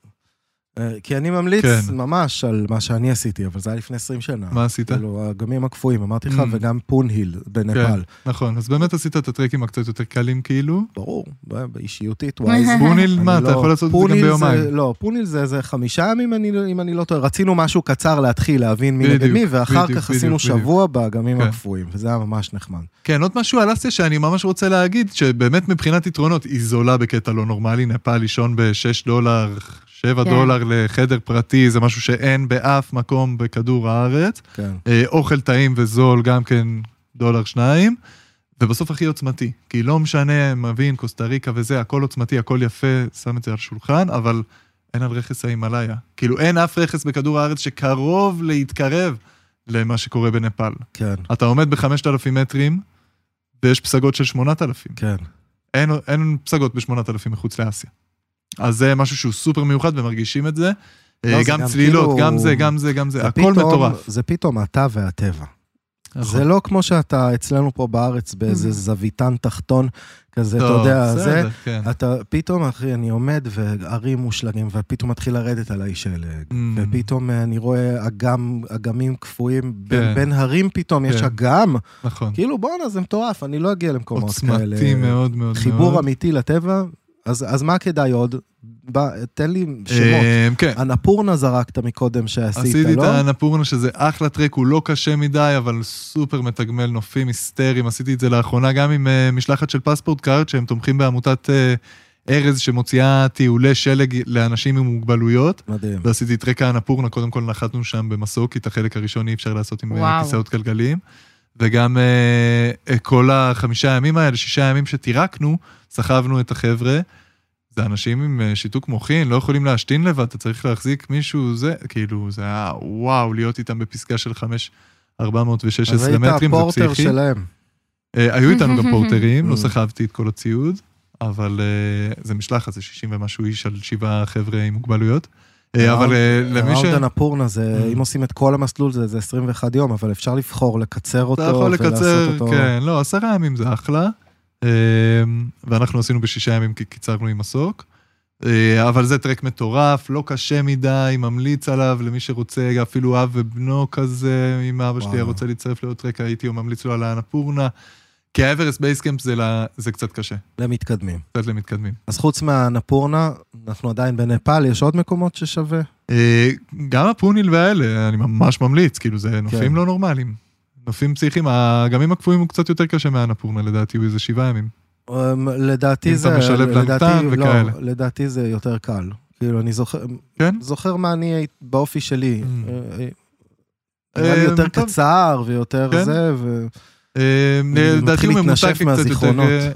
A: אה, כי אני ממליץ
B: כן.
A: ממש על מה שאני עשיתי, אבל זה היה לפני 20 שנה.
B: מה עשית?
A: כאילו, הגמים הקפואים, אמרתי לך,
B: Mm.
A: וגם פונהיל בנפאל.
B: נכון, אז באמת עשית את הטרקים הקצת יותר קלים כאילו.
A: ברור, ב- באישיותית, וואי. זה-
B: בוניל,
A: אני
B: מה, אתה
A: לא-
B: יכול לעשות את זה גם
A: פוניל
B: ביומיים.
A: לא, פוניל זה איזה חמישה ימים, אני לא- אם אני לא טועה. רצינו משהו קצר להתחיל, להבין מי נגד
B: בדיוק,
A: מי, ואחר
B: בדיוק,
A: כך עשינו
B: בדיוק,
A: שבוע באגמים
B: כן.
A: הקפואים, וזה היה ממש נחמד.
B: כן, עוד משהו על אסיה שאני ממש רוצה להגיד, שבאמת מבחינת יתרונות, היא זולה בקטע לא נורמלי, נפאל לישון ב-6 דולר, 7
C: כן.
B: דולר לחדר פרטי, זה משהו שאין באף מקום בכדור הארץ.
A: כן.
B: אה, אוכל טעים וזול, גם כן דולר שניים, ובסוף הכי עוצמתי. כי לא משנה, מבין, קוסטה ריקה וזה, הכל עוצמתי, הכל יפה, שם את זה על שולחן, אבל אין על רכס ההימאליה. כאילו אין אף רכס בכדור הארץ שקרוב להתקרב למה שקורה בנפאל.
A: כן,
B: אתה עומד ב-5,000 מטרים, ויש פסגות של 8,000.
A: כן.
B: אין, אין פסגות ב-8,000 מחוץ לאסיה. אז זה משהו שהוא סופר מיוחד ומרגישים את זה. אה,
A: לא, זה
B: גם
A: גם
B: צלילות,
A: כאילו-
B: גם זה, גם זה, גם זה,
A: זה
B: הכל
A: פתאום-
B: מטורף.
A: זה פתאום אתה והטבע.
B: נכון.
A: זה לא כמו שאתה אצלנו פה בארץ באיזה
C: Mhm.
A: זוויתן תחתון כזה, אתה
B: טוב,
A: יודע, זה.
B: לא, בסדר, כן.
A: אתה פתאום, אחי, אני עומד והרים מושלגים, ופתאום מתחיל לרדת עליי שלג.
B: Mm.
A: ופתאום אה, אני רואה אגם, אגמים קפואים, בין-
B: כן.
A: בין הרים פתאום יש
B: כן.
A: אגם.
B: נכון.
A: כאילו, בואנה, זה מטורף, אני לא אגיע למקומות כאלה.
B: עוצמתי מאוד מאוד
A: חיבור
B: מאוד.
A: אמיתי לטבע, אז אז מה כדאי עוד? בא, תן לי שמות.
B: אה, כן.
A: אנפורנה זרקת מקודם שעשית,
B: עשיתי את
A: לא?
B: האנפורנה שזה אחלה טרק, הוא לא קשה מדי, אבל סופר מתגמל נופים היסטריים. עשיתי את זה לאחרונה גם עם אה, משלחת של פספורט קארד, שהם תומכים בעמותת אה, ארז שמוציאה טיולי שלג לאנשים עם מוגבלויות.
A: מדהים.
B: ועשיתי את רקע אנפורנה, קודם כל נחתנו שם במסוק, כי את החלק הראשון אי אפשר לעשות עם אה,
C: וואו.
B: כיסאות גלגליים. וגם אה, אה, כל החמישה ימים האלה, שישה ימים שטירקנו, סחבנו את החבר'ה. זה אנשים עם אה, שיתוק מוחין, לא יכולים להשתין לבד, אתה צריך להחזיק מישהו, זה, כאילו, זה היה וואו, להיות איתם בפסגה של 5, 416
A: אז היית
B: מטרים, זה
A: הפורטר
B: פסיכי.
A: שלהם.
B: אה, היו איתנו גם פורטרים, לא
A: Mm.
B: סחבתי את כל הציוד, אבל אה, זה משלחת, זה 60 ומשהו איש על שבעה חבר'ה עם מוגבלויות. אה, אבל אה, למי ש...
A: ראונד אנפורנה זה,
B: Mm.
A: אם עושים את כל המסלול זה, זה 21 יום, אבל אפשר לבחור לקצר אותו
B: אתה יכול
A: ולעשות
B: לקצר,
A: אותו.
B: כן, לא, עשרה ימים זה אחלה. אמ, ואנחנו עשינו בשישה ימים כי קיצרנו עם מסוק. אה, אבל זה טרק מטורף, לא קשה מדי, ממליץ עליו למי שרוצה, אפילו אב ובנו כזה, אם אבא שלי היה
A: וואו.
B: רוצה להצטרף לעוד טרק, הייתי ממליץ לו על האנפורנה. כי האברסט בייסקאמפ זה, ל- זה קצת קשה,
A: למתקדמים.
B: קצת למתקדמים.
A: אז חוץ מהנפורנה, אנחנו עדיין בנפאל, יש עוד מקומות ששווה?
B: אה, גם הפוניל והאלה, אני ממש ממליץ, כאילו זה
A: כן.
B: נופים לא נורמליים. נופים פסיכיים, האגמים הקפואים הוא קצת יותר קשה מהאנפורנה לדעתי, הוא איזה שבעה ימים.
A: אמ, לדעתי
B: אם
A: זה...
B: אתה משלב
A: לדעתי-
B: לנתן
A: לא,
B: וכאלה.
A: לדעתי זה יותר קל. כאילו, אני זוכר,
B: כן?
A: זוכר מה אני הייתי באופי שלי.
B: Mm.
A: אה, אה, נראה לי
B: אה,
A: יותר
B: טוב.
A: קצר ויותר
B: כן.
A: זה, ו...
B: אה,
A: אני
B: לדעתי
A: מתחיל
B: הוא
A: להתנשף
B: ממותק לי קצת יותר...
A: מהזיכרונות.
B: אה,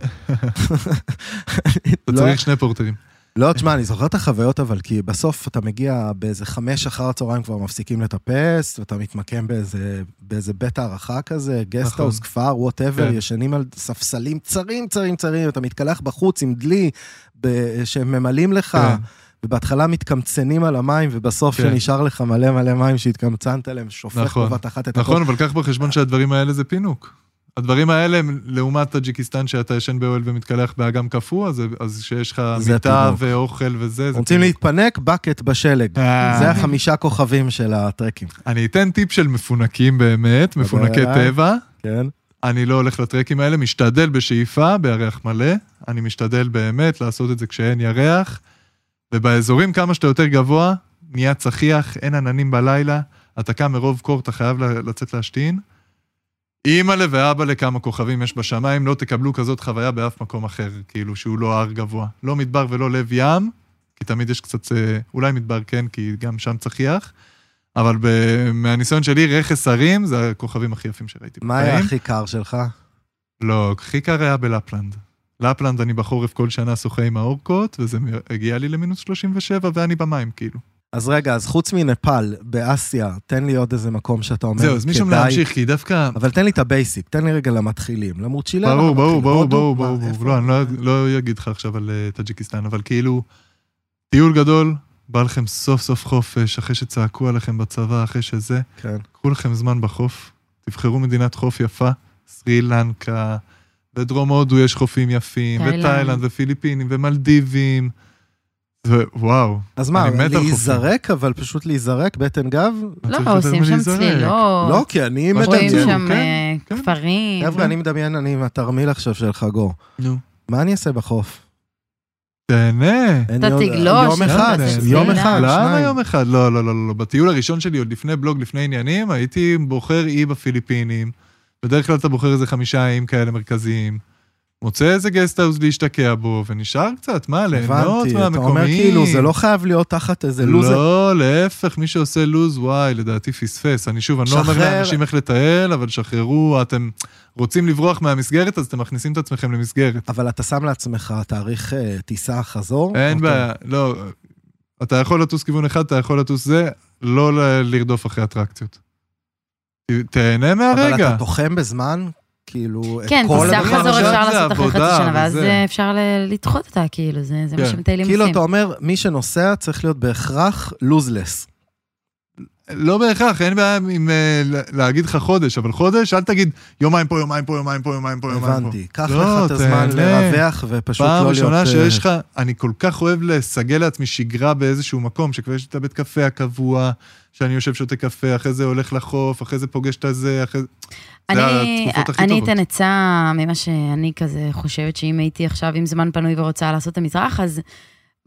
B: אתה
A: לא-
B: צריך שני פורטרים.
A: לא, תשמע, אני זוכר את החוויות, אבל כי בסוף אתה מגיע באיזה חמש אחר הצהריים כבר מפסיקים לטפס, ואתה מתמקם באיזה, באיזה בית הערכה כזה, גסטהאוס, כפר, וואטאבר,
B: נכון. כן.
A: ישנים על ספסלים צרים, צרים, צרים, אתה מתקלח בחוץ עם דלי ב- שהם ממלאים לך,
B: כן.
A: ובהתחלה מתקמצנים על המים, ובסוף
B: כן.
A: שנשאר לך מלא מלא מים שהתקמצנת עליהם, שופך
B: נכון,
A: בבת אחת את
B: נכון, אבל קח בחשבון שהדברים האלה זה פינוק. הדברים האלה הם לעומת טאג'יקיסטן שאתה ישן באוהל ומתקלח באגם קפוא, אז- אז שיש לך
A: זה
B: מיטה
A: פינוק.
B: ואוכל וזה, זה
A: רוצים
B: פינוק.
A: להתפנק, בקט בשלג.
B: אה.
A: זה החמישה כוכבים של הטרקים,
B: אני אתן טיפ של מפונקים באמת, מפונקי
A: אה.
B: טבע.
A: כן?
B: אני לא הולך לטרקים האלה, משתדל בשאיפה, בירח מלא. אני משתדל באמת לעשות את זה כשאין ירח. ובאזורים כמה שאתה יותר גבוה, נהיה צחיח, אין עננים בלילה, אתה קם מרוב קור, אתה חייב ל- לצאת להשתין. אימא'לה ואבא'לה כמה כוכבים יש בשמיים, לא תקבלו כזאת חוויה באף מקום אחר, כאילו שהוא לא הר גבוה. לא מדבר ולא לב ים, כי תמיד יש קצת, אה, אולי מדבר כן, כי גם שם צחיח, אבל ב- מהניסיון שלי, רכס הרים זה הכוכבים הכי יפים שראיתי.
A: מה
B: בחיים.
A: היה הכי קר שלך?
B: לא, הכי קר היה בלפלנד. לפלנד אני בחורף כל שנה שוחה עם האורקות, וזה מ- הגיע לי למינוס 37 ואני במים, כאילו.
A: אז רגע, אז חוץ מנפאל, באסיה, תן לי עוד איזה מקום שאתה אומר,
B: זהו, אז משם
A: כדאי-
B: להמשיך, כי דווקא...
A: אבל לא תן לי את הבייסיק, תן לי רגע למתחילים, למוצ'ילר.
B: ברור, ברור,
A: למתחיל.
B: ברור,
A: הודו,
B: ברור,
A: מה,
B: ברור,
A: איפה?
B: ברור. לא, אני לא- לא אגיד לך עכשיו על אה, טאג'יקיסטן, אבל כאילו, טיול גדול, בא לכם סוף סוף חופש, אחרי שצעקו עליכם בצבא, אחרי שזה,
A: כן.
B: קחו לכם זמן בחוף, תבחרו מדינת חוף יפה, סרי לנקה, בדרום הודו יש חופים יפים,
C: תאילנד.
B: ותאילנד, ופיליפינים, ומלדיבים, וואו.
A: אז מה,
B: אני מת על חופים.
A: להיזרק, אבל פשוט להיזרק, בטן גב?
C: לא,
B: צריך יותר
C: עושים שם
B: מלהיזרק.
C: צלילות.
A: לא, כי אני
B: מה
C: רואים
B: מדמיין,
A: מדמיין.
C: שם
B: כן,
C: אה,
B: כן.
C: כפרים.
A: חבר'ה, אני מדמיין, אני עם התרמיל עכשיו של חגו.
B: נו.
A: מה אני אעשה בחוף?
B: תהנה.
A: אין
C: אתה
A: לי עוד-
C: תגלוש,
A: יום
C: אתה
A: אחד,
C: תעשה
A: יום
C: סלילה.
A: אחד,
B: למה
A: שניים.
B: יום אחד? לא, לא, לא, לא, לא. בטיול הראשון שלי, עוד לפני בלוג, לפני עניינים, הייתי בוחר אי בפיליפינים. בדרך כלל אתה בוחר איזה חמישה איים כאלה מרכזיים. מוצא איזה גסטהאוס להשתקע בו, ונשאר קצת, מה, ליהנות
A: הבנתי,
B: מהמקומיים.
A: אתה אומר כאילו, זה לא חייב להיות תחת איזה לוז.
B: לא, להפך, מי שעושה לוז, וואי, לדעתי פספס. אני שוב, אני לא אומר
A: שחרר.
B: לאנשים איך לטייל, אבל שחררו, אתם רוצים לברוח מהמסגרת, אז אתם מכניסים את עצמכם למסגרת.
A: אבל אתה שם לעצמך תאריך אה, טיסה חזור? אוקיי.
B: אין
A: אתה-
B: בעיה, לא. אתה יכול לטוס כיוון אחד, אתה יכול לטוס זה, לא ל- לרדוף אחרי אטרקציות. ת- תהנה
A: אבל
B: מהרגע.
A: אתה תוחם בזמן? כאילו, את
C: כן,
A: כל
C: טיסה
B: הדברים.
A: הדרך?
C: חזור
B: עכשיו
C: אפשר
B: זה
C: לעשות אחרי חצי
B: עבודה
C: שנה, ואז
B: וזה.
C: אה, אפשר ל- לדחות אותה, כאילו, זה זה מה
B: כן.
C: שמטיילים עושים.
A: כאילו, אתה אומר, מי שנוסע צריך להיות בהכרח לוזלס.
B: לא בהכרח, אין בעיה עם אה, ל- להגיד לך חודש, אבל חודש, אל תגיד יומיים פה, יומיים פה, יומיים פה, יומיים פה, יומיים פה.
A: הבנתי. קח
B: לא,
A: לך את הזמן
B: תהנה.
A: לרווח ופשוט לא
B: פעם
A: להיות...
B: ראשונה
A: אה,
B: שיש לך, אני כל כך אוהב לסגל לעצמי שגרה באיזשהו מקום, שכבר יש לי את הבית קפה הקבוע, שאני יושב שותה קפה, אחרי זה הולך לחוף, אחרי זה פוגש את הזה, אחרי זה...
C: אני,
B: התקופות הכי
C: אני
B: טובות.
C: אתן עצה ממה שאני כזה חושבת שאם הייתי עכשיו עם זמן פנוי ורוצה לעשות את המזרח, אז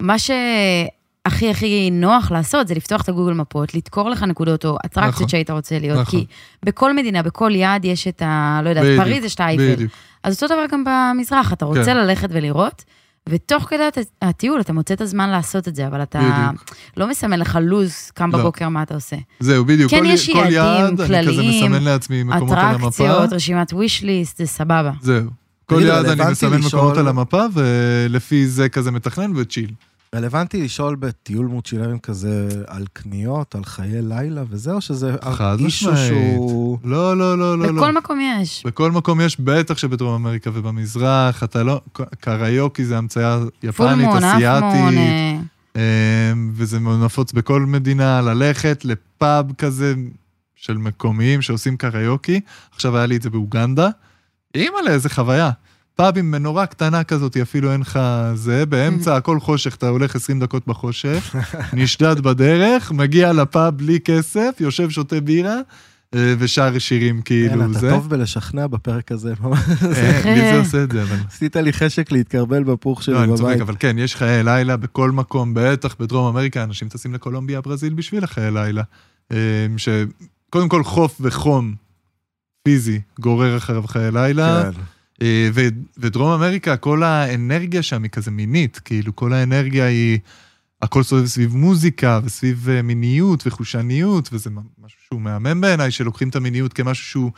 C: מה שהכי הכי נוח לעשות זה לפתוח את הגוגל מפות, לדקור לך נקודות או אטרקציות
B: נכון.
C: שהיית רוצה להיות,
B: נכון.
C: כי בכל מדינה, בכל יעד יש את ה... לא יודעת,
B: בדיוק,
C: פריז יש את האייפל.
B: בדיוק.
C: אז אותו דבר גם במזרח, אתה רוצה
B: כן.
C: ללכת ולראות. ותוך כדי הת- הטיול אתה מוצא את הזמן לעשות את זה, אבל אתה
B: בדיוק.
C: לא מסמן לך לוז, קם
B: לא.
C: בבוקר מה אתה עושה.
B: זהו, בדיוק.
C: כן,
B: כל-
C: יש
B: כל
C: יעדים
B: יעד, אני כזה
C: כלליים,
B: מסמן לעצמי מקומות על המפה.
C: אטרקציות, רשימת wish list, זה סבבה.
B: זהו. כל
A: תגיד,
B: יעד אני
A: רלוונטי
B: מסמן
A: לשאול-
B: מקומות על המפה, ולפי זה כזה מתכנן וצ'יל.
A: רלוונטי לשאול בטיול מוצ'ילרים כזה על קניות, על חיי לילה וזה, או שזה
B: חד
A: אישו
B: משמעית.
A: שהוא...
B: לא, לא, לא, לא. לא.
C: בכל מקום יש.
B: בכל מקום יש, בטח שבדרום אמריקה ובמזרח, אתה לא... קריוקי זה המצאה
C: פול
B: יפנית,
C: מון, אף מון,
B: אסיאתית.
C: אה,
B: אמ, וזה נפוץ בכל מדינה, ללכת לפאב כזה של מקומיים שעושים קריוקי. עכשיו היה לי את זה באוגנדה. אימא'לה, איזה חוויה. פאב עם מנורה קטנה כזאת, אפילו אין לך זה,
A: Mm.
B: באמצע הכל חושך, אתה הולך 20 דקות בחושך, <laughs> נשדד בדרך, מגיע לפאב בלי כסף, יושב, שותה בירה, אה, ושר שירים כאילו
A: אין, כן, אתה
B: זה.
A: טוב כן. בלשכנע בפרק הזה. <laughs> ממש.
B: אה, לי זה עושה את זה, אבל...
A: עשית לי חשק להתקרבל בפוך שלי
B: לא, אני צוחק,
A: בבית.
B: אבל כן, יש חיי לילה בכל מקום, בטח בדרום אמריקה, אנשים טסים לקולומביה, ברזיל בשביל החיי לילה. אמ, שקודם כל חוף וחום פיזי גורר אחריו חיי לילה,
A: כן.
B: אה, ו- ודרום אמריקה, כל האנרגיה שם היא כזה מינית, כאילו כל האנרגיה היא, הכל סובב סביב מוזיקה וסביב אה, מיניות וחושניות, וזה מ- משהו שהוא מהמם בעיניי, שלוקחים את המיניות כמשהו שהוא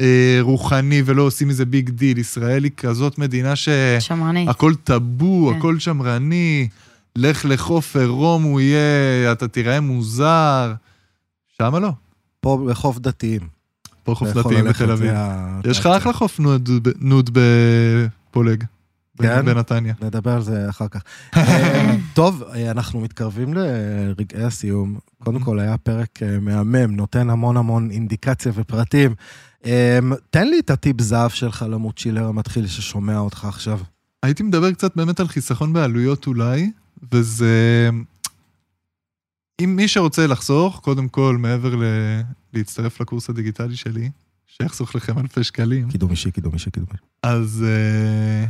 B: אה, רוחני ולא עושים מזה ביג דיל. ישראל היא כזאת מדינה ש...
C: שמרנית.
B: הכל טאבו,
C: כן.
B: הכל שמרני, לך לחוף עירום הוא יהיה, אתה תיראה מוזר. שמה לא,
A: פה בחוף דתיים.
B: פה חוף
A: אתה יכול
B: דתיים
A: ללכת
B: בתל אביב.
A: מה-
B: יש לך אחלה חוף נוד ב- נוד בפולג.
A: כן?
B: בנתניה.
A: נדבר על זה אחר
B: <laughs>
A: כך. אה, טוב, אה, אנחנו מתקרבים לרגעי הסיום. קודם כל, היה פרק אה, מהמם, נותן המון המון אינדיקציה ופרטים. אה, תן לי את הטיפ זהב שלך למוצ'ילר המתחיל ששומע אותך עכשיו.
B: הייתי מדבר קצת באמת על חיסכון בעלויות אולי, וזה... אם מי שרוצה לחסוך, קודם כל, מעבר ל... להצטרף לקורס הדיגיטלי שלי, שיחסוך לכם אלפי שקלים,
A: קידום אישי, קידום אישי, קידום אישי.
B: אז uh,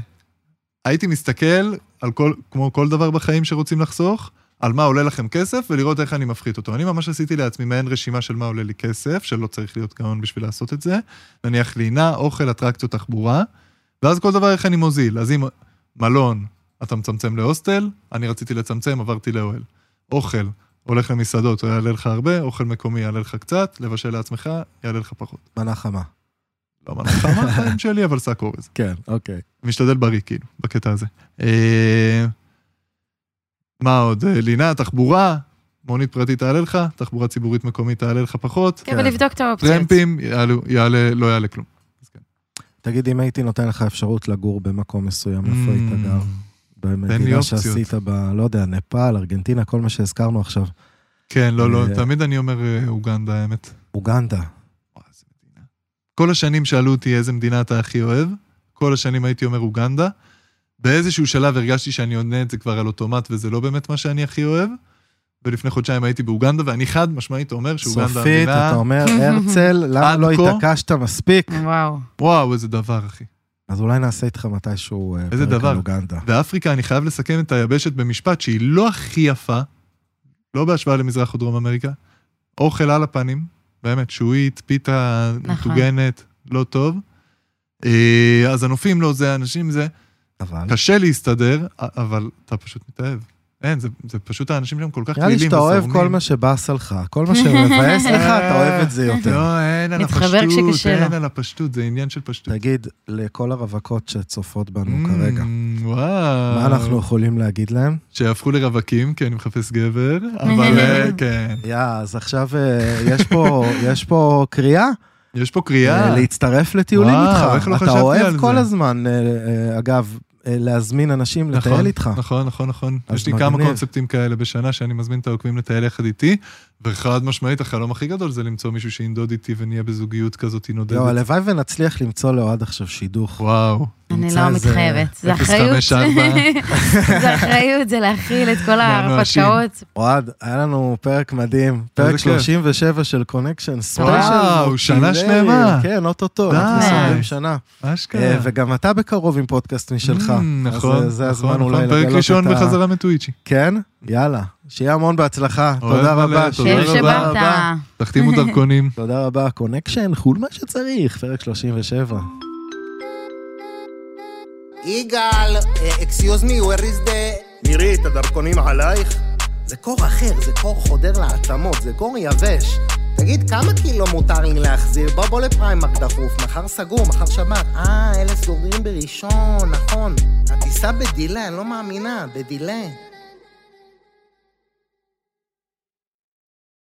B: הייתי מסתכל על כל, כמו כל דבר בחיים שרוצים לחסוך, על מה עולה לכם כסף ולראות איך אני מפחית אותו. אני ממש עשיתי לעצמי מעין רשימה של מה עולה לי כסף, שלא צריך להיות גאון בשביל לעשות את זה. נניח לינה, אוכל, אטרקציות, תחבורה, ואז כל דבר איך אני מוזיל. אז אם מלון, אתה מצמצם להוסטל, אני רציתי לצמצם, עברתי לאוהל. אוכל, הולך למסעדות, יעלה לך הרבה, אוכל מקומי יעלה לך קצת, לבשל לעצמך, יעלה לך פחות.
A: מנה חמה.
B: לא מנה חמה החיים שלי, אבל שק אורז.
A: כן, אוקיי.
B: משתדל בריא, כאילו, בקטע הזה. אה, מה עוד? אה, לינה, תחבורה, מונית פרטית תעלה לך, תחבורה ציבורית מקומית תעלה לך פחות,
C: כן, ולבדוק את האופציות.
B: טרמפים, יעלו- יעלה, לא יעלה כלום. אז כן.
A: תגיד, אם הייתי נותן לך אפשרות לגור במקום מסוים, איפה
B: Mm.
A: היית גר?
B: תן לי
A: במדינה
B: אופציות.
A: שעשית ב... לא יודע, נפאל, ארגנטינה, כל מה שהזכרנו עכשיו.
B: כן, לא, לא,
A: אה,
B: תמיד אני אומר אה, אוגנדה, האמת.
A: אוגנדה.
B: וואי, איזה מדינה. כל השנים שאלו אותי איזה מדינה אתה הכי אוהב, כל השנים הייתי אומר אוגנדה. באיזשהו שלב הרגשתי שאני עונה את זה כבר על אוטומט וזה לא באמת מה שאני הכי אוהב. ולפני חודשיים הייתי באוגנדה ואני חד משמעית אומר שאוגנדה
A: סופית,
B: המדינה...
A: אתה
B: <laughs>
A: אומר, הרצל, למה
B: עד
A: לא
B: כה? Mm.
A: התעקשת מספיק?
C: וואו.
B: וואו, איזה דבר, אחי.
A: אז אולי נעשה איתך מתישהו אה,
B: איזה
A: פרק
B: דבר.
A: על אוגנדה.
B: באפריקה אני חייב לסכם את היבשת במשפט שהיא לא הכי יפה, לא בהשוואה למזרח או דרום אמריקה. אוכל על הפנים, באמת, שועית, פיתה
C: נכון.
B: מטוגנת, לא טוב. אה, אז הנופים לא זה, האנשים זה.
A: אבל
B: קשה להסתדר, א- אבל אתה פשוט מתאהב. אין, זה, זה פשוט האנשים שם כל כך
A: נראה לי
B: פעילים
A: שאתה אוהב כל מה שבאס עליך, כל מה שמבאס לך,
B: אה,
A: אתה אוהב את זה יותר.
B: לא, אין על
C: מתחבר
B: הפשטות,
C: כשקשה לו.
B: אין על הפשטות, זה עניין של פשטות.
A: תגיד לכל הרווקות שצופות בנו כרגע,
B: Mm, וואו.
A: מה אנחנו יכולים להגיד להם?
B: שיהפכו לרווקים, כי אני מחפש
C: <laughs>
B: גבר, אבל אה, כן.
A: יא, אז עכשיו <laughs> אה, יש פה- יש פה קריאה
B: יש פה קריאה.
A: אה, להצטרף לטיולים
B: וואו,
A: איתך.
B: איך לא
A: אתה
B: חשבתי
A: אוהב
B: על
A: כל
B: זה.
A: הזמן, אה, אה, אגב, אה, להזמין אנשים לטייל איתך.
B: נכון, נכון, נכון.
A: אז
B: יש לי כמה
A: מגניב.
B: קונספטים כאלה בשנה שאני מזמין את העוקבים לטייל יחד איתי, וחד משמעית, החלום הכי גדול זה למצוא מישהו שינדוד איתי ונהיה בזוגיות כזאת
A: לא,
B: נודדת.
A: הלוואי ונצליח למצוא לאוהד עכשיו שידוך.
B: וואו.
C: אני
A: נמצא
C: לא
A: איזה
C: מתחייבת. זה
B: 054.
C: אחריות. <laughs> זה אחריות, זה להכיל את כל
B: מהנואשים.
C: ההרפתקאות.
A: אוהד, היה לנו פרק מדהים, פרק
B: כיף.
A: 37 של קונקשן ספיישל.
B: וואו, שנה שלמה.
A: כן, אוטוטו,
B: די.
A: אנחנו סוגרים שנה. אה,
B: אשכרה.
A: וגם אתה בקרוב עם פודקאסט משלך.
B: Mm,
A: אז,
B: נכון,
A: אה, זה
B: נכון,
A: הזמן אולי
B: נכון. פרק
A: לגלות
B: ראשון
A: את ה-
B: בחזרה מטוויצ'י.
A: כן? יאללה, שיהיה המון בהצלחה.
B: אוהב
A: תודה
B: מלא,
A: רבה.
B: תודה
C: כיף
B: רבה.
C: שבאת.
B: תחתימו
C: <laughs>
B: דרכונים.
A: תודה רבה, קונקשן, חול מה שצריך, פרק 37.
D: יגאל, אקסיוז מי, where is the... מירי, את הדרכונים עלייך? זה קור אחר, זה קור חודר לעצמות, זה קור יבש. תגיד, כמה קילו מותר לי להחזיר? בוא בוא לפריימק דחוף, מחר סגור, מחר שבת. אה, אלה סוגרים בראשון, נכון. הטיסה בדילה, אני לא מאמינה, בדילה.